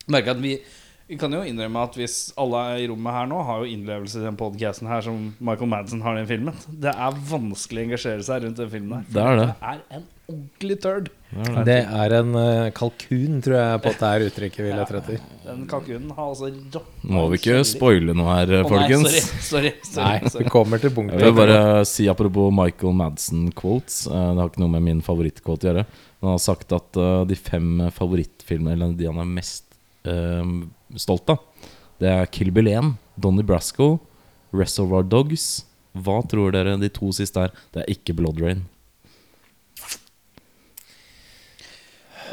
Speaker 1: Merka at vi Vi kan jo innrømme at hvis alle i rommet her nå har jo innlevelse i den podcasten her som Michael Madsen har i den filmen. Det er vanskelig å engasjere seg rundt den filmen her. for
Speaker 3: Det er det.
Speaker 1: er en ordentlig turd.
Speaker 3: Det er det.
Speaker 4: Det er en eh, kalkun, tror jeg, på at det er uttrykket vi leter etter.
Speaker 1: Den kalkunen har altså rått
Speaker 3: Må vi ikke spoile noe her,
Speaker 1: Å, nei,
Speaker 3: folkens?
Speaker 1: Sorry, sorry, sorry,
Speaker 4: Nei, vi
Speaker 1: sorry.
Speaker 4: kommer til
Speaker 3: Jeg
Speaker 4: punktet.
Speaker 3: vil bare si apropos Michael Madsen-quotes. eh, Det har ikke noe med min favorittquote å gjøre. Men han har sagt at eh, de fem favorittfilmene, eller de han er mest eh, stolt av, det er Kill Bill 1, Donnie Brasco, Reservoir Dogs. Hva tror dere de to siste er? Det er ikke Blood Rain.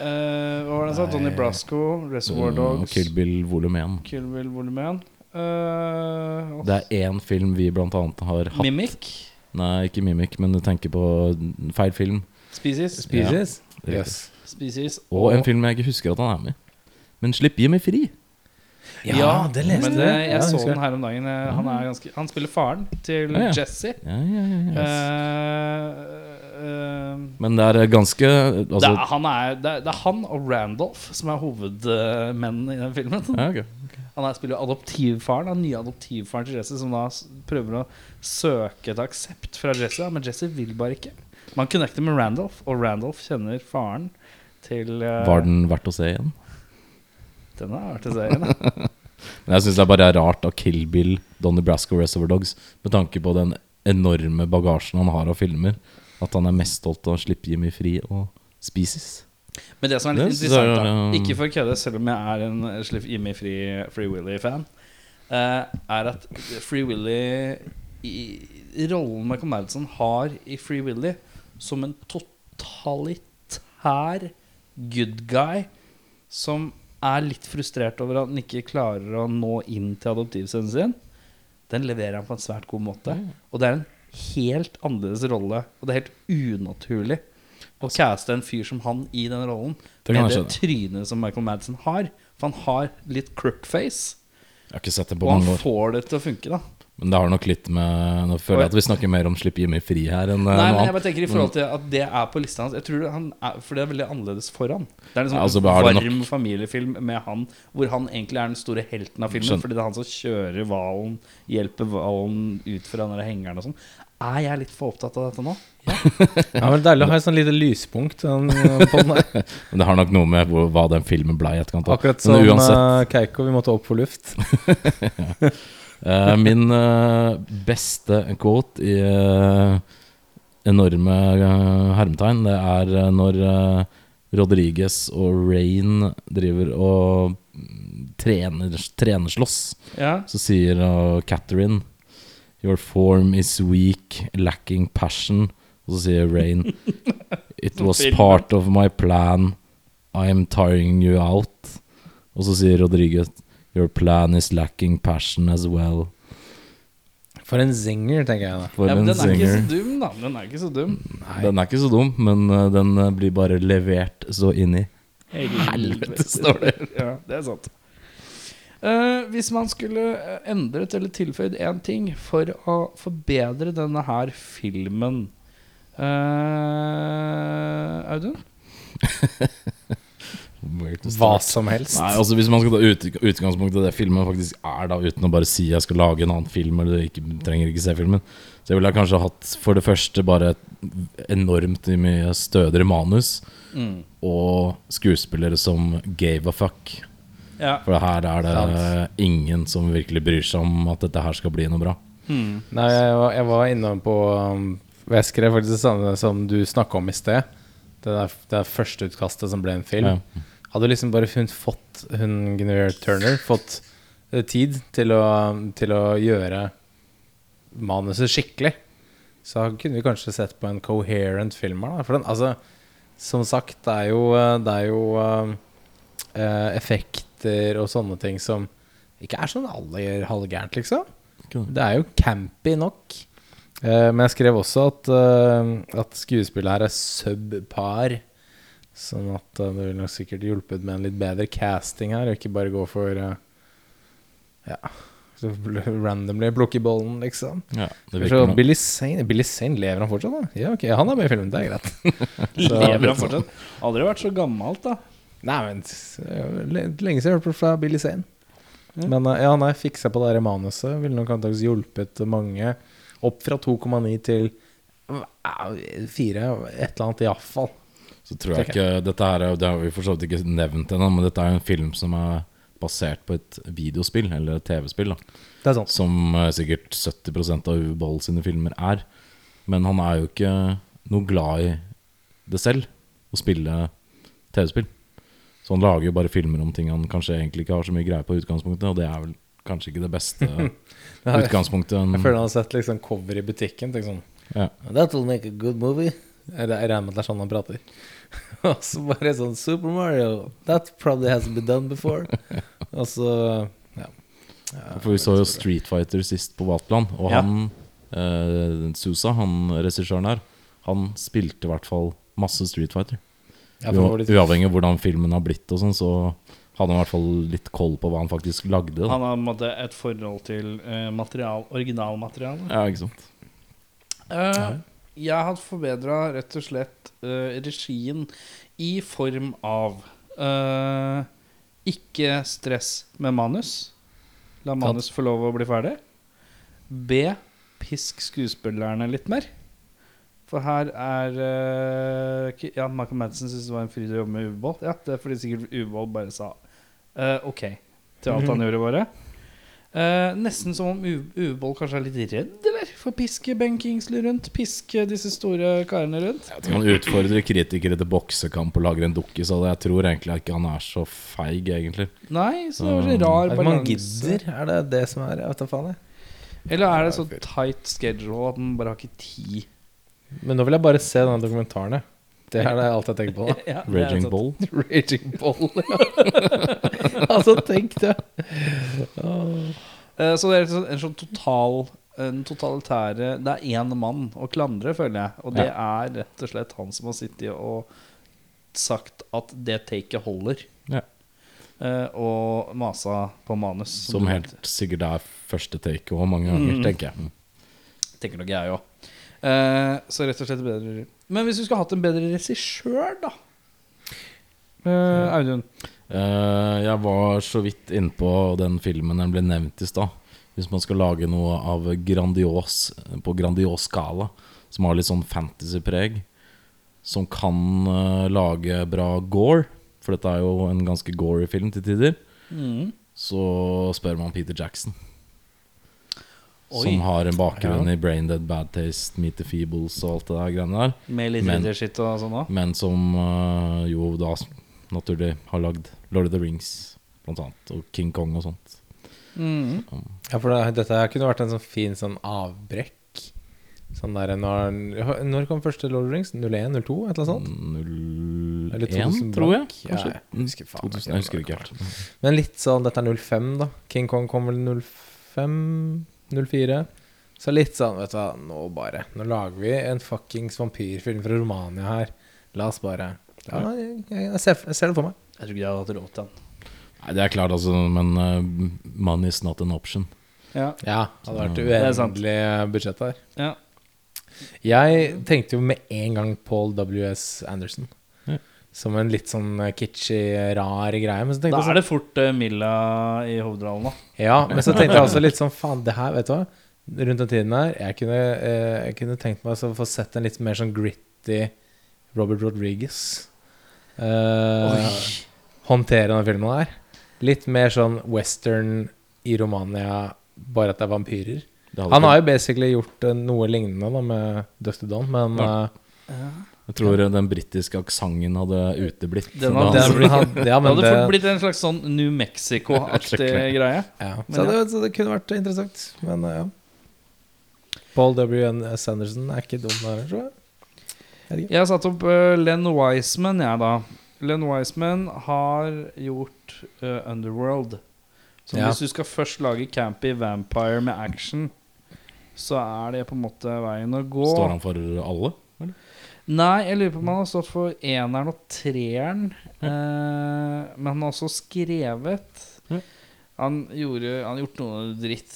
Speaker 1: Eh, hva var det han sa?
Speaker 3: Nei.
Speaker 1: Donnie Brasco, Reservoir
Speaker 3: Eh, og
Speaker 1: Dogs,
Speaker 3: Kill Bill volum 1.
Speaker 1: Kill Bill Volume 1. Eh, og
Speaker 3: Det er én film vi blant annet har hatt.
Speaker 1: Mimic.
Speaker 3: Nei, ikke Mimic, men du tenker på feil film.
Speaker 1: Species.
Speaker 4: Species?
Speaker 3: Ja.
Speaker 4: Yes.
Speaker 1: Species.
Speaker 3: Og en film jeg ikke husker at han er med i. Men slipp Jimmy fri!
Speaker 1: Ja,
Speaker 4: det leste
Speaker 1: men det,
Speaker 4: jeg. Ja,
Speaker 1: jeg så
Speaker 4: husker jeg.
Speaker 1: den her om dagen. eh, Han, er ganske, han spiller faren til
Speaker 3: Mm. Ja, ja.
Speaker 1: Jesse.
Speaker 3: Ja, ja, ja, ja.
Speaker 1: Eh, eh,
Speaker 3: Men det er ganske altså,
Speaker 1: det, er, han er, det, er, det er han og Randolph som er hovedmennene i den filmen.
Speaker 3: ja, ok.
Speaker 1: Han er, spiller adoptivfaren, den nye adoptivfaren til Jesse, som da s- prøver å søke et aksept fra Jesse. ja, Men Jesse vil bare ikke. Man connecter med Randolph, og Randolph kjenner faren til eh,
Speaker 3: Var den verdt å se igjen?
Speaker 1: Den har vært i serien. da.
Speaker 3: Men jeg syns det er bare rart av Kill Bill, Donnie Brasco, Reservoir Dogs, med tanke på den enorme bagasjen han har av filmer, at han er mest stolt av å slippe Jimmy fri og spises.
Speaker 1: Men det som er litt
Speaker 3: Det synes jeg
Speaker 1: interessant,
Speaker 3: er,
Speaker 1: da
Speaker 3: ja.
Speaker 1: ikke for å kødde, selv om jeg er en slipp Jimmy Free, Free Willy-fan, eh, er at Free Willy i rollen Michael Madison har i Free Willy som en totalitær good guy som er litt frustrert over at han ikke klarer å nå inn til adoptivsønnen sin, den leverer han på en svært god måte.
Speaker 3: Mm.
Speaker 1: Og det er en helt annerledes rolle, og det er helt unaturlig å caste en fyr som han i den rollen,
Speaker 3: Det kan
Speaker 1: med
Speaker 3: jeg
Speaker 1: det trynet som Michael Madsen har. For han har litt crook face,
Speaker 3: Jeg har ikke sett det på
Speaker 1: og han
Speaker 3: mange år.
Speaker 1: får det til å funke, da.
Speaker 3: Men det har nok litt med Nå føler jeg at vi snakker mer om slipp Jimmy fri her enn eh,
Speaker 1: Nei,
Speaker 3: noe
Speaker 1: men jeg bare
Speaker 3: annet.
Speaker 1: tenker i forhold til at det er på lista hans. Jeg tror han er, For det er veldig annerledes for han. Det er liksom
Speaker 3: Ja, altså,
Speaker 1: en
Speaker 3: er det nok-
Speaker 1: varm familiefilm med han hvor han egentlig er den store helten av filmen.
Speaker 3: Skjønner.
Speaker 1: Fordi det er han som kjører hvalen, hjelper hvalen ut fra den der hengeren og sånn. Er jeg litt for opptatt av dette nå?
Speaker 4: Ja, men Deilig å ha et sånn lite lyspunkt. sånn, eh, på den her.
Speaker 3: Men det har nok noe med hvor, hva den filmen ble i etterkant. av.
Speaker 4: Akkurat som
Speaker 3: Men uansett,
Speaker 4: eh, Keiko, vi måtte opp for luft.
Speaker 3: Eh, min eh, beste quote i eh, enorme eh, hermetegn, det er eh, når eh, Rodriguez og Rain driver og mm, trener, trenerslåss.
Speaker 1: Ja.
Speaker 3: Så sier uh, Catherine Your form is weak, lacking passion. Og så sier Rain It was
Speaker 1: Filmen.
Speaker 3: part of my plan. I am tiring you out. Og så sier Rodriguez Your plan is lacking passion as well.
Speaker 4: For en zinger, tenker jeg da.
Speaker 3: For
Speaker 1: ja, men
Speaker 3: en
Speaker 1: den er ikke
Speaker 3: singer.
Speaker 1: så dum, da. Den er ikke så dum.
Speaker 3: Den er ikke så dum, men eh, den eh, blir bare levert så inn i.
Speaker 1: Helvete,
Speaker 3: står det.
Speaker 1: ja, det er sant. Eh, hvis man skulle eh, endret eller tilføyd én ting for å forbedre denne her filmen eh, Audun?
Speaker 4: Hva som helst.
Speaker 3: Nei, altså Hvis man skal ta ut, utgangspunkt i det filmen faktisk er, da uten å bare si jeg skal lage en annen film, eller ikke, trenger ikke se filmen, så jeg ville kanskje hatt for det første bare et enormt mye stødigere manus,
Speaker 1: Mm.
Speaker 3: og skuespillere som gave a fuck.
Speaker 1: Ja.
Speaker 3: For her er det ingen som virkelig bryr seg om at dette her skal bli noe bra.
Speaker 4: Nei, jeg var, jeg var innom på um, Jeg skrev faktisk det samme som du snakka om i sted. Det der, det der første utkastet som ble en film. Hadde liksom bare hun fått hun Guinevere Turner fått eh, tid til å, til å gjøre manuset skikkelig, så kunne vi kanskje sett på en coherent film her, da. For den, altså, som sagt, det er jo, eh, det er jo eh, eh, effekter og sånne ting som ikke er sånn alle gjør halvgærent, liksom.
Speaker 3: Ikke
Speaker 4: Det er jo campy nok. Eh, men jeg skrev også at, eh, at skuespillet her er subpar. Sånn at eh, det ville nok sikkert hjulpet med en litt bedre casting her, og ikke bare gå for eh, Ja så bl- randomly plukke i bollen, liksom.
Speaker 3: Ja, det
Speaker 4: Så
Speaker 3: virker nok.
Speaker 4: Billy Sane Billy Sane, lever han fortsatt, da? Ja, ok, han er med i filmen, det er greit.
Speaker 1: Lever han fortsatt? Aldri vært så gammalt, da.
Speaker 4: eh, Nei, men s- det er jo le- lenge siden jeg har hørt fra Billy Sane.
Speaker 1: Ja.
Speaker 4: Men eh, ja, nei, fiksa på det her manuset ville nok antakeligvis hjulpet mange opp fra 2,9 til eh, 4, et eller annet iallfall.
Speaker 3: Så tror jeg ikke Dette her er jo- Det har vi for så vidt ikke nevnt ennå, men dette er jo en film som er basert på et videospill, eller et TV-spill, da.
Speaker 4: Det er sånn, sant.
Speaker 3: Som eh, sikkert 70 av Uwe Boll sine filmer er. Men han er jo ikke noe glad i det selv, å spille TV-spill. Så han lager jo bare filmer om ting han kanskje egentlig ikke har så mye greie på i utgangspunktet, og det er vel kanskje ikke det beste utgangspunktet. En,
Speaker 4: Jeg føler han har sett liksom cover i butikken. Tenkt sånn
Speaker 3: Ja.
Speaker 4: That'll make a good movie. Jeg re- jeg regner med at det er sånn han prater. Og så bare sånn Super Mario. That probably hasn't been done before. Og så ja. Ja,
Speaker 3: For vi så jo Street Fighter sist på Vatland, og
Speaker 1: Ja.
Speaker 3: han eh, Susa, han regissøren her, han spilte i hvert fall masse Street Fighter.
Speaker 4: Ja, for det var
Speaker 3: U-
Speaker 4: litt-
Speaker 3: Uavhengig av hvordan filmen har blitt og sånn, så hadde han i hvert fall litt koll på hva han faktisk lagde. Da.
Speaker 1: Han har på en måte et forhold til eh, material, originalmaterialet.
Speaker 3: Ja, ikke sant.
Speaker 1: Eh, jeg har forbedra rett og slett eh, regien i form av eh, ikke stress med manus. La manus få lov å bli ferdig. B. Pisk skuespillerne litt mer. For her er eh, ki- Ja, Michael Madsen syntes det var en fryd å jobbe med Uvold. Ja, det er fordi sikkert Uvold bare sa eh, OK til alt han gjorde, bare. Eh, nesten som om U- Uvold kanskje er litt redd, eller? For å piske Ben Kingsley rundt. Piske disse store karene rundt.
Speaker 3: Jeg tror han utfordrer kritikere til boksekamp og lager en dukke, så jeg tror egentlig ikke han er så feig, egentlig.
Speaker 1: Nei, så det var så rar
Speaker 4: At man
Speaker 1: balanse.
Speaker 4: gidder, er det det som er Jeg vet da faen, jeg.
Speaker 1: Eller er det så tight schedule at man bare har ikke tid?
Speaker 4: Men nå vil jeg bare se denne dokumentaren, jeg. Det er det alt jeg tenker på. da.
Speaker 1: Ja, altså, det er
Speaker 3: Raging
Speaker 1: sant.
Speaker 3: Bull.
Speaker 4: Raging Bull. ja. altså, tenk det.
Speaker 1: Eh, Så det er rett og slett en sånn total en totalitære Det er én mann å klandre, føler jeg. Og det er rett og slett han som har sittet og sagt at det taket holder.
Speaker 3: Ja.
Speaker 1: Eh, Og masa på manus.
Speaker 3: Som
Speaker 1: du Mm.
Speaker 3: helt sikkert er første take og mange ganger, tenker jeg. Mm.
Speaker 1: tenker nok jeg òg. Eh, så rett og slett bedre Men hvis du skulle hatt en bedre regissør, da? Eh, Audun.
Speaker 3: Eh, jeg var så vidt innpå den filmen den ble nevnt i stad. Hvis man skal lage noe av grandios på grandios skala, som har litt sånn fantasy-preg, som kan eh, lage bra gore, for dette er jo en ganske gory film til tider,
Speaker 1: Mm.
Speaker 3: så spør man Peter Jackson.
Speaker 1: Oi.
Speaker 3: Som har en bakgrunn i Brain Dead, Bad Taste, Meet the Feebles og alt det der greiene der.
Speaker 1: Med litt
Speaker 3: Men-
Speaker 1: ridderskitt og sånn òg?
Speaker 3: Men som øh, jo da s- naturlig har lagd Lord of the Rings, blant annet, og King Kong og sånt.
Speaker 1: Mm.
Speaker 4: Ja, for det, dette her kunne vært en sånn fin sånn avbrekk. Sånn der, når, når kom første Lord of the Rings? 01? 02? Et eller annet sånt? Eller
Speaker 3: 01, tror jeg.
Speaker 4: 2000 blank? Ja,
Speaker 3: kanskje.
Speaker 4: jeg husker faen ikke
Speaker 3: 2000, jeg husker ikke helt.
Speaker 4: Men litt sånn Dette er 05, da. King Kong kom vel 05? 04? Så litt sånn, vet du hva, nå bare. Nå lager vi en fuckings vampyrfilm fra Romania her. La oss bare Ja, jeg, jeg, jeg, ser, jeg ser det for meg.
Speaker 1: Jeg tror ikke jeg hadde hatt råd til han.
Speaker 3: Nei, det er klart, altså, men øh, money is not an option.
Speaker 1: Ja,
Speaker 4: Ja, det hadde vært
Speaker 1: er sant.
Speaker 4: uendelig budsjett der.
Speaker 1: ja.
Speaker 4: Jeg tenkte jo med en gang Paul W.S. Anderson.
Speaker 3: Ja.
Speaker 4: Som en litt sånn eh, kitschy, rar greie. Men så
Speaker 1: Da
Speaker 4: tenkte
Speaker 1: er
Speaker 4: jeg
Speaker 1: det fort eh, Milla i hovedrollen, da.
Speaker 4: sånn, ja, men så tenkte jeg også litt sånn Faen, det her, vet du hva. Rundt den tiden her Jeg kunne, eh, jeg kunne tenkt meg å få sett en litt mer sånn gritty Robert Rodriguez. Eh, håndtere denne filmen her. Litt mer sånn western i Romania, bare at det er vampyrer.
Speaker 3: Det hadde
Speaker 4: Han har
Speaker 3: ikke-
Speaker 4: jo basically gjort eh, noe lignende da med Dusty Don, men
Speaker 3: Ja.
Speaker 4: eh,
Speaker 3: Jeg tror øh, den britiske aksenten hadde uteblitt.
Speaker 1: Den
Speaker 3: fra
Speaker 1: hadde-
Speaker 3: hans-
Speaker 1: den-
Speaker 4: Det, han, ja,
Speaker 1: Det
Speaker 4: men
Speaker 1: hadde
Speaker 4: det,
Speaker 1: fort blitt en slags sånn New Mexico-aktig
Speaker 3: Skikkelig.
Speaker 1: greie.
Speaker 4: ja.
Speaker 1: men
Speaker 4: så, det, så det kunne vært interessant. Men eh, ja. Paul W. N. Sanderson er ikke dum der, tror jeg.
Speaker 1: Jeg har satt opp eh, Len Wiseman, jeg, da. Len Wiseman har gjort eh, Underworld. Så
Speaker 4: Ja.
Speaker 1: hvis du skal først lage campy vampire med action, så er det på en måte veien å gå.
Speaker 3: Står han for alle?
Speaker 1: Nei, jeg lurer på om han har stått for eneren og treeren. Eh, men han har også skrevet.
Speaker 3: Ja.
Speaker 1: Han gjorde Han har gjort noe dritt.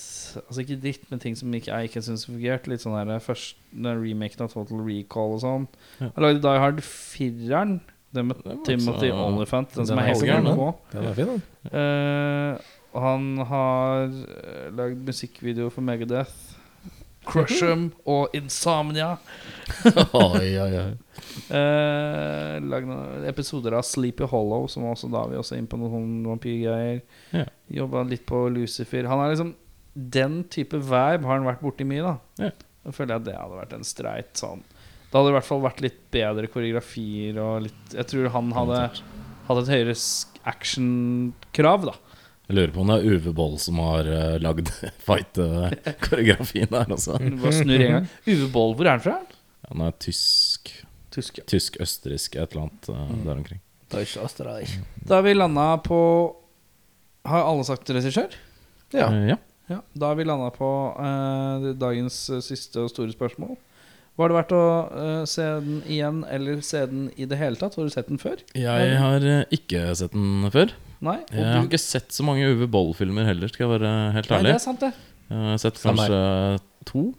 Speaker 1: Altså ikke dritt, men ting som ikke, jeg ikke syns fungerte. Litt sånn her først den remaken av Total Recall og sånn.
Speaker 3: Ja.
Speaker 1: Han lagde Die Hard 4-eren. Den med
Speaker 3: var ikke så-
Speaker 1: Timothy Olyphant. Den,
Speaker 4: den
Speaker 1: som
Speaker 4: er
Speaker 1: er helt
Speaker 4: halvgæren,
Speaker 1: gæren.
Speaker 4: Den er fin, den.
Speaker 1: Eh, Og han har eh, lagd musikkvideo for Megadeth. Crush'em og Insomnia.
Speaker 3: oi, oi, oi.
Speaker 1: Eh, lagd noen episoder av Sleepy Hollow, som også da vi også er inne på noen sånne vampyrgreier.
Speaker 3: Ja.
Speaker 1: Jobba litt på Lucifer. Han er liksom Den type vibe har han vært borti mye, da.
Speaker 3: Ja.
Speaker 1: Da føler jeg at det hadde vært en streit sånn. Da hadde det i hvert fall vært litt bedre koreografier og litt Jeg tror han hadde hatt et høyere sk- actionkrav, da.
Speaker 3: Jeg lurer på om det er Uwe Boll som har eh, lagd fight-koreografien der, altså.
Speaker 4: Mm.
Speaker 1: Du bare snur en gang. Uwe Boll, hvor er han fra?
Speaker 3: Han er tysk
Speaker 1: Tysk, ja.
Speaker 3: Tysk-østerriksk et eller annet eh, der omkring.
Speaker 1: Da har vi landa på Har alle sagt regissør?
Speaker 4: Ja.
Speaker 3: Eh, ja.
Speaker 1: Ja, da har vi landa på eh, dagens eh, siste og store spørsmål. Var det verdt å eh, se den igjen, eller se den i det hele tatt? Har du sett den før?
Speaker 3: Jeg har eh, ikke sett den før.
Speaker 1: Nei? Og
Speaker 3: Jeg har
Speaker 1: du-
Speaker 3: ikke sett så mange Uwe Boll-filmer heller, skal jeg være helt
Speaker 1: Nei, det
Speaker 3: ærlig.
Speaker 1: er sant, det.
Speaker 3: Jeg har sett
Speaker 4: Samme her.
Speaker 3: kanskje to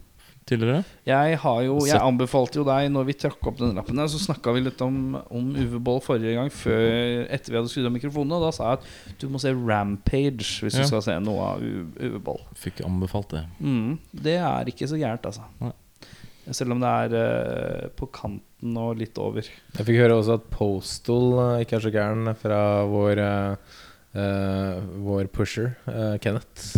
Speaker 3: tidligere.
Speaker 1: Jeg har jo, jeg
Speaker 3: Sett-
Speaker 1: anbefalte jo deg, når vi trakk opp den lappen her, så snakka vi litt om, om Uwe Boll forrige gang, før, etter vi hadde skrudd av mikrofonene. Og da sa jeg at du må se Rampage hvis
Speaker 3: Ja.
Speaker 1: du skal se noe av U- Uwe Boll.
Speaker 3: Fikk anbefalt det.
Speaker 1: Mm, det er ikke så gærent, altså.
Speaker 3: Nei.
Speaker 1: Selv om det er eh, på kanten og litt over.
Speaker 4: Jeg fikk høre også at Postal eh, ikke er så gæren fra vår eh, eh, Vår pusher, eh, Kenneth,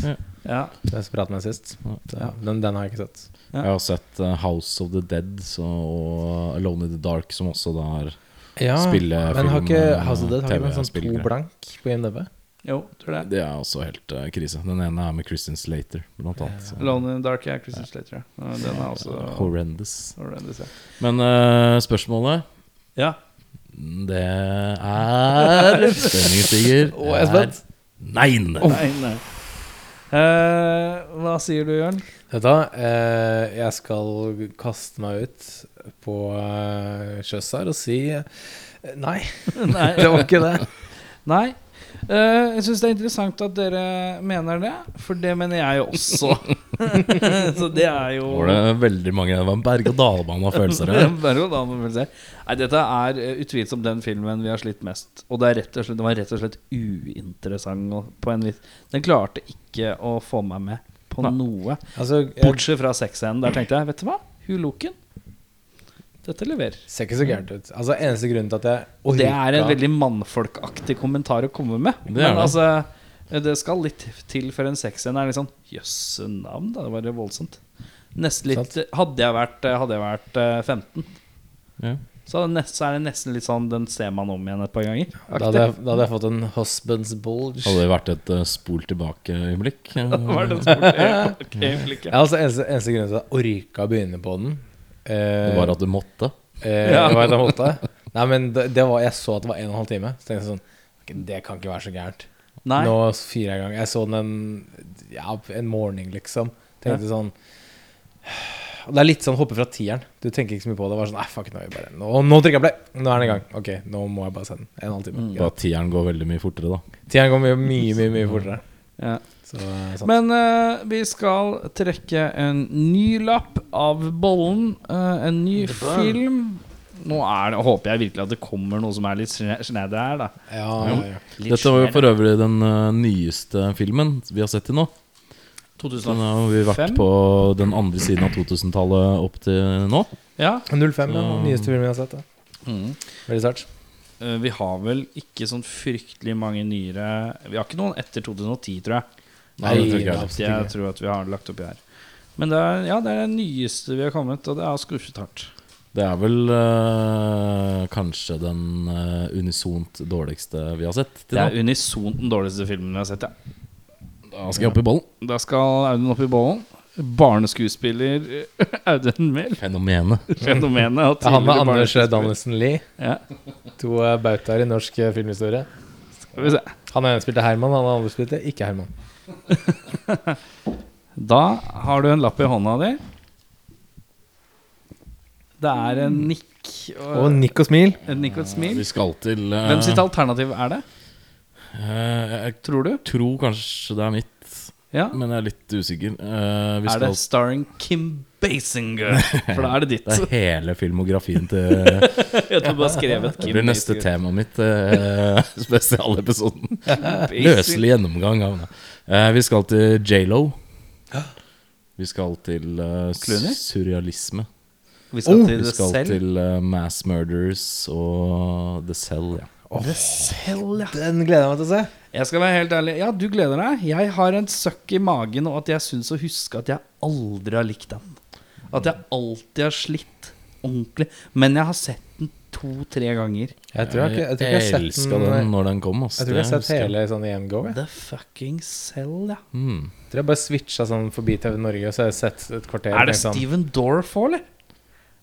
Speaker 1: Ja,
Speaker 4: den som pratet med sist. Ja, den, den har jeg ikke sett.
Speaker 1: Ja.
Speaker 3: Jeg har sett eh, House of the Dead så, og Alone in the Dark, som også da er Spillefilm,
Speaker 4: men har ikke
Speaker 3: eh,
Speaker 4: House of Dead har ikke den sånn to
Speaker 3: TV-spillgreier.
Speaker 4: blank på IMDb?
Speaker 1: jo, tror det.
Speaker 3: Det er også helt eh, krise. Den ene er med Christian Slater, blant annet. Så.
Speaker 1: Alone in the Dark er Christian Slater. ja. Ja, Den er også
Speaker 3: Horrendous.
Speaker 1: horrendous, ja.
Speaker 3: Men eh, spørsmålet
Speaker 1: ja.
Speaker 3: Det er Spenningen stiger.
Speaker 4: Å, jeg er spent.
Speaker 3: Nei!
Speaker 1: Nei, nei. Eh, hva sier du, Jørn?
Speaker 4: Vet du hva, eh, jeg skal kaste meg ut på eh, sjøs her og si eh, nei.
Speaker 1: nei.
Speaker 4: Det var ikke det.
Speaker 1: nei. Eh, jeg syns det er interessant at dere mener det, for det mener jeg jo også. Så det er jo
Speaker 3: Nå var det veldig mange Det var en berg-og-dal-bane av følelser her.
Speaker 1: Bare å da må vi se. Nei, dette er eh, utvilsomt den filmen vi har slitt mest. Og det, er rett og slett, det var rett og slett uinteressant og- på en vis. Den klarte ikke å få meg med på
Speaker 3: Nei.
Speaker 1: noe.
Speaker 4: Altså, jeg
Speaker 1: Bortsett fra sexscenen. Der tenkte jeg, vet du hva? Hun loken. Dette leverer.
Speaker 4: ser ikke så gærent ut. Altså, eneste grunnen til at jeg
Speaker 1: Og det er en
Speaker 4: orka-
Speaker 1: veldig mannfolkaktig kommentar å komme med.
Speaker 3: Det er
Speaker 1: Men
Speaker 3: det.
Speaker 1: altså det skal litt til før en sexscene er litt sånn Jøsse navn, da. Det var voldsomt. Nesten litt Hadde jeg vært, hadde jeg vært eh, 15
Speaker 3: Ja.
Speaker 1: så, er det nest, så er det nesten litt sånn Den ser man om igjen et par ganger.
Speaker 4: da hadde, jeg, da hadde jeg fått en husband's bulge.
Speaker 3: Hadde det vært et eh, spol tilbake-øyeblikk?
Speaker 1: Var det en sport? Ja, ok, egentlig ikke.
Speaker 4: Ja, altså, eneste, eneste grunnen til at jeg orka å begynne på den eh,
Speaker 3: Det var at du måtte?
Speaker 4: eh,
Speaker 1: Ja.
Speaker 4: var at jeg måtte. Nei, men det, det var, jeg så at det var en og en halv time. Så tenkte jeg sånn ok, Det kan ikke være så gærent.
Speaker 1: Nei.
Speaker 4: Nå firer jeg i gang. Jeg så den en, ja, en morgen, liksom. Tenkte sånn Og Det er litt sånn hoppe fra tieren. Du tenker ikke så mye på det. Det var sånn, nei, fuck, Nå, er vi bare, nå, nå trykker jeg play! Nå er den i gang. Ok, nå må jeg bare se den. En og en halv time.
Speaker 1: Mm.
Speaker 3: Bare at tieren går veldig mye fortere, da.
Speaker 4: Greit. Tieren går mye, mye, mye, mye fortere.
Speaker 1: Ja.
Speaker 4: Så, eh, sant.
Speaker 1: Men eh, vi skal trekke en ny lapp av bollen. eh, en ny film. Nå er det, håper jeg virkelig at det kommer noe som er litt sne- snedig her, da.
Speaker 4: ja, ja, ja.
Speaker 3: Dette var jo for øvrig den eh, nyeste filmen vi har sett til nå. Så nå har vi vært på den andre siden av 2000-tallet opp til nå.
Speaker 1: Ja.
Speaker 4: 05, ja. Nyeste filmen jeg har sett. da.
Speaker 1: Mm.
Speaker 4: Veldig sterkt.
Speaker 1: Eh, vi har vel ikke sånn fryktelig mange nyere Vi har ikke noen etter 2010, tror jeg.
Speaker 3: Nei, det tror jeg ikke
Speaker 4: Nei,
Speaker 3: jeg.
Speaker 4: absolutt
Speaker 1: Jeg
Speaker 4: ikke.
Speaker 1: tror at vi har lagt oppi her. Men det er, ja, det er det nyeste vi har kommet, og det har skuffet hardt.
Speaker 3: Det er vel eh, kanskje den eh, unisont dårligste vi har sett til
Speaker 1: Det
Speaker 3: nå.
Speaker 1: er unisont den dårligste filmen jeg har sett, ja.
Speaker 3: Da skal jeg opp i bollen.
Speaker 1: Da skal Audun opp i bollen. Barneskuespiller eh, Audun Mehl.
Speaker 3: Fenomenet.
Speaker 1: Fenomenet. og
Speaker 4: Det er han med
Speaker 1: tidligere
Speaker 4: Anders
Speaker 1: barneskuespiller.
Speaker 4: Danielsen Lie.
Speaker 1: Ja,
Speaker 4: To eh, bautaer i norsk eh, filmhistorie.
Speaker 1: skal vi se.
Speaker 4: Han ene spilte Herman, han andre spilte ikke Herman.
Speaker 1: Da har du en lapp i hånda di. Det er en nikk og,
Speaker 4: Og nikk og smil.
Speaker 1: et nikk og et smil.
Speaker 3: Vi skal til eh,
Speaker 1: Hvem sitt alternativ er det,
Speaker 3: eh, Jeg
Speaker 1: tror du?
Speaker 3: tror kanskje det er mitt.
Speaker 1: Ja.
Speaker 3: men jeg er litt usikker. Eh, vi
Speaker 1: Er det
Speaker 3: skal,
Speaker 1: starring Kim Basinger? For da er det ditt.
Speaker 3: det er hele filmografien til
Speaker 1: Jeg tror bare skrevet
Speaker 3: Det
Speaker 1: Kim
Speaker 3: blir neste
Speaker 1: Basinger.
Speaker 3: tema mitt eh, spesialepisoden.
Speaker 1: Basinger.
Speaker 3: Løselig gjennomgang av det. Eh, vi skal til J.Lo. Vi skal til eh,
Speaker 1: Clooney?
Speaker 3: surrealisme. Oh!
Speaker 1: Vi skal til
Speaker 3: Vi
Speaker 1: The
Speaker 3: skal
Speaker 1: Cell.
Speaker 3: til eh, Mass Murders og The Cell. Ja.
Speaker 1: The Cell, ja.
Speaker 4: Den gleder jeg meg til å se.
Speaker 1: Jeg skal være helt ærlig. Ja, du gleder deg. Jeg har en søkk i magen og at jeg syns å huske at jeg aldri har likt den. At jeg alltid har slitt ordentlig. Men jeg har sett den to-tre ganger.
Speaker 4: Jeg tror jeg, ikke- jeg tror ikke jeg har sett
Speaker 3: elska
Speaker 4: den eh,
Speaker 3: den når den kom. Ass.
Speaker 4: Jeg tror ikke jeg har
Speaker 3: Det
Speaker 4: sett hele sånn i en go. Jeg.
Speaker 1: The fucking Cell, ja.
Speaker 3: husker jeg. Mm.
Speaker 4: jeg tror jeg bare switcha sånn forbi TV Norge, så har jeg sett et kvarter.
Speaker 1: Er det
Speaker 4: tenkte sånn,
Speaker 1: Steven Dorff òg, eller?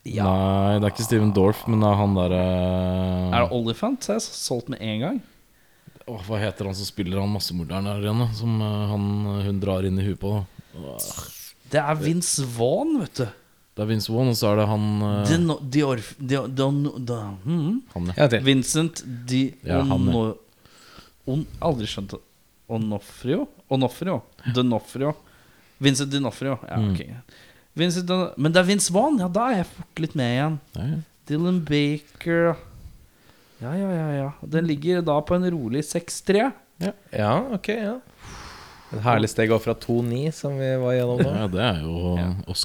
Speaker 1: Ja.
Speaker 3: Nei, det er ikke Steven Dorff, men det er han eh, derre
Speaker 1: Er det Olifant? Så har jeg solgt med en gang.
Speaker 3: Hva heter han som spiller han massemorderen der igjen, da? Som eh, han, hun drar inn i huet på? Åh.
Speaker 1: Det er Vince Vaughn, vet du.
Speaker 3: Det er Vince Vaughn, og så er det han eh,
Speaker 1: De no, de orf, de, de, de, hmm.
Speaker 3: han, ja.
Speaker 4: En gang til.
Speaker 1: Vincent Di
Speaker 3: Ja, han, ja.
Speaker 1: Ono- on, Aldri skjønt det. Onofrio? Onofrio? Donofrio? Vincent Dinofrio. Ja,
Speaker 3: Mm.
Speaker 1: ok. Vincent Don Men det er Vince Vaughn! Ja, da er jeg fort litt med igjen.
Speaker 3: Ja, ja.
Speaker 1: Dylan Baker Ja, ja, ja. ja Den ligger da på en rolig 6-3.
Speaker 4: Ja, ok, ja. Et herlig steg opp fra 2-9, som vi var gjennom nå.
Speaker 3: Ja, det er jo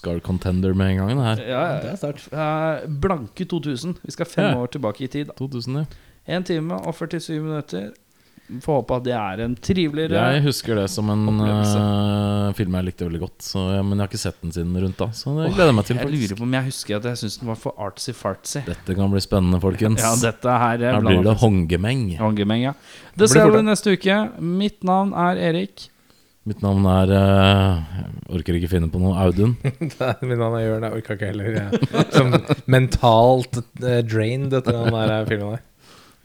Speaker 3: Oscar-contender med en gang, det her.
Speaker 1: Ja,
Speaker 4: Det
Speaker 1: ja.
Speaker 4: er sterkt.
Speaker 1: Eh, Blanke 2000. Vi skal fem
Speaker 3: Ja.
Speaker 1: år tilbake i tid.
Speaker 3: 2000, ja.
Speaker 1: 1 time og 47 minutter. Får håpe at det er en triveligere
Speaker 3: Jeg husker det som en
Speaker 1: Opplevelse.
Speaker 3: eh, film jeg likte veldig godt, så, ja, men jeg har ikke sett den siden rundt da. Så det gleder jeg meg til.
Speaker 1: Jeg
Speaker 3: faktisk
Speaker 1: lurer på om jeg husker at jeg syns den var for artsy-fartsy.
Speaker 3: Dette kan bli spennende, folkens.
Speaker 1: Ja, dette her er eh,
Speaker 3: her blir det
Speaker 1: blandet
Speaker 3: hongemeng.
Speaker 1: håndgemeng, ja. Det
Speaker 4: Blir
Speaker 1: ser
Speaker 4: borte.
Speaker 1: vi neste uke. Mitt navn er Erik.
Speaker 3: Mitt navn er eh, Jeg orker ikke finne på noe. Audun.
Speaker 4: Nei, Min navn er Jørn, jeg orka ikke heller. Jeg. Som mentalt eh, drained etter den der eh, filmen der.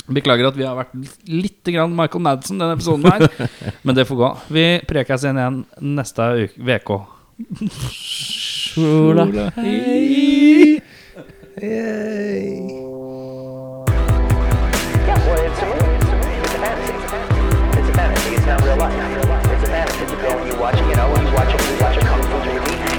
Speaker 1: Beklager at vi har vært litt grann Michael Madsen denne episoden her, men det får gå. Vi prekes igjen igjen neste uke. VK.
Speaker 2: Yeah, well, it's a movie. It's a movie. It's a fantasy. It's a fantasy. It's not real life. It's a fantasy. You go and you watch, you know, you watch a, you watch a kung fu movie,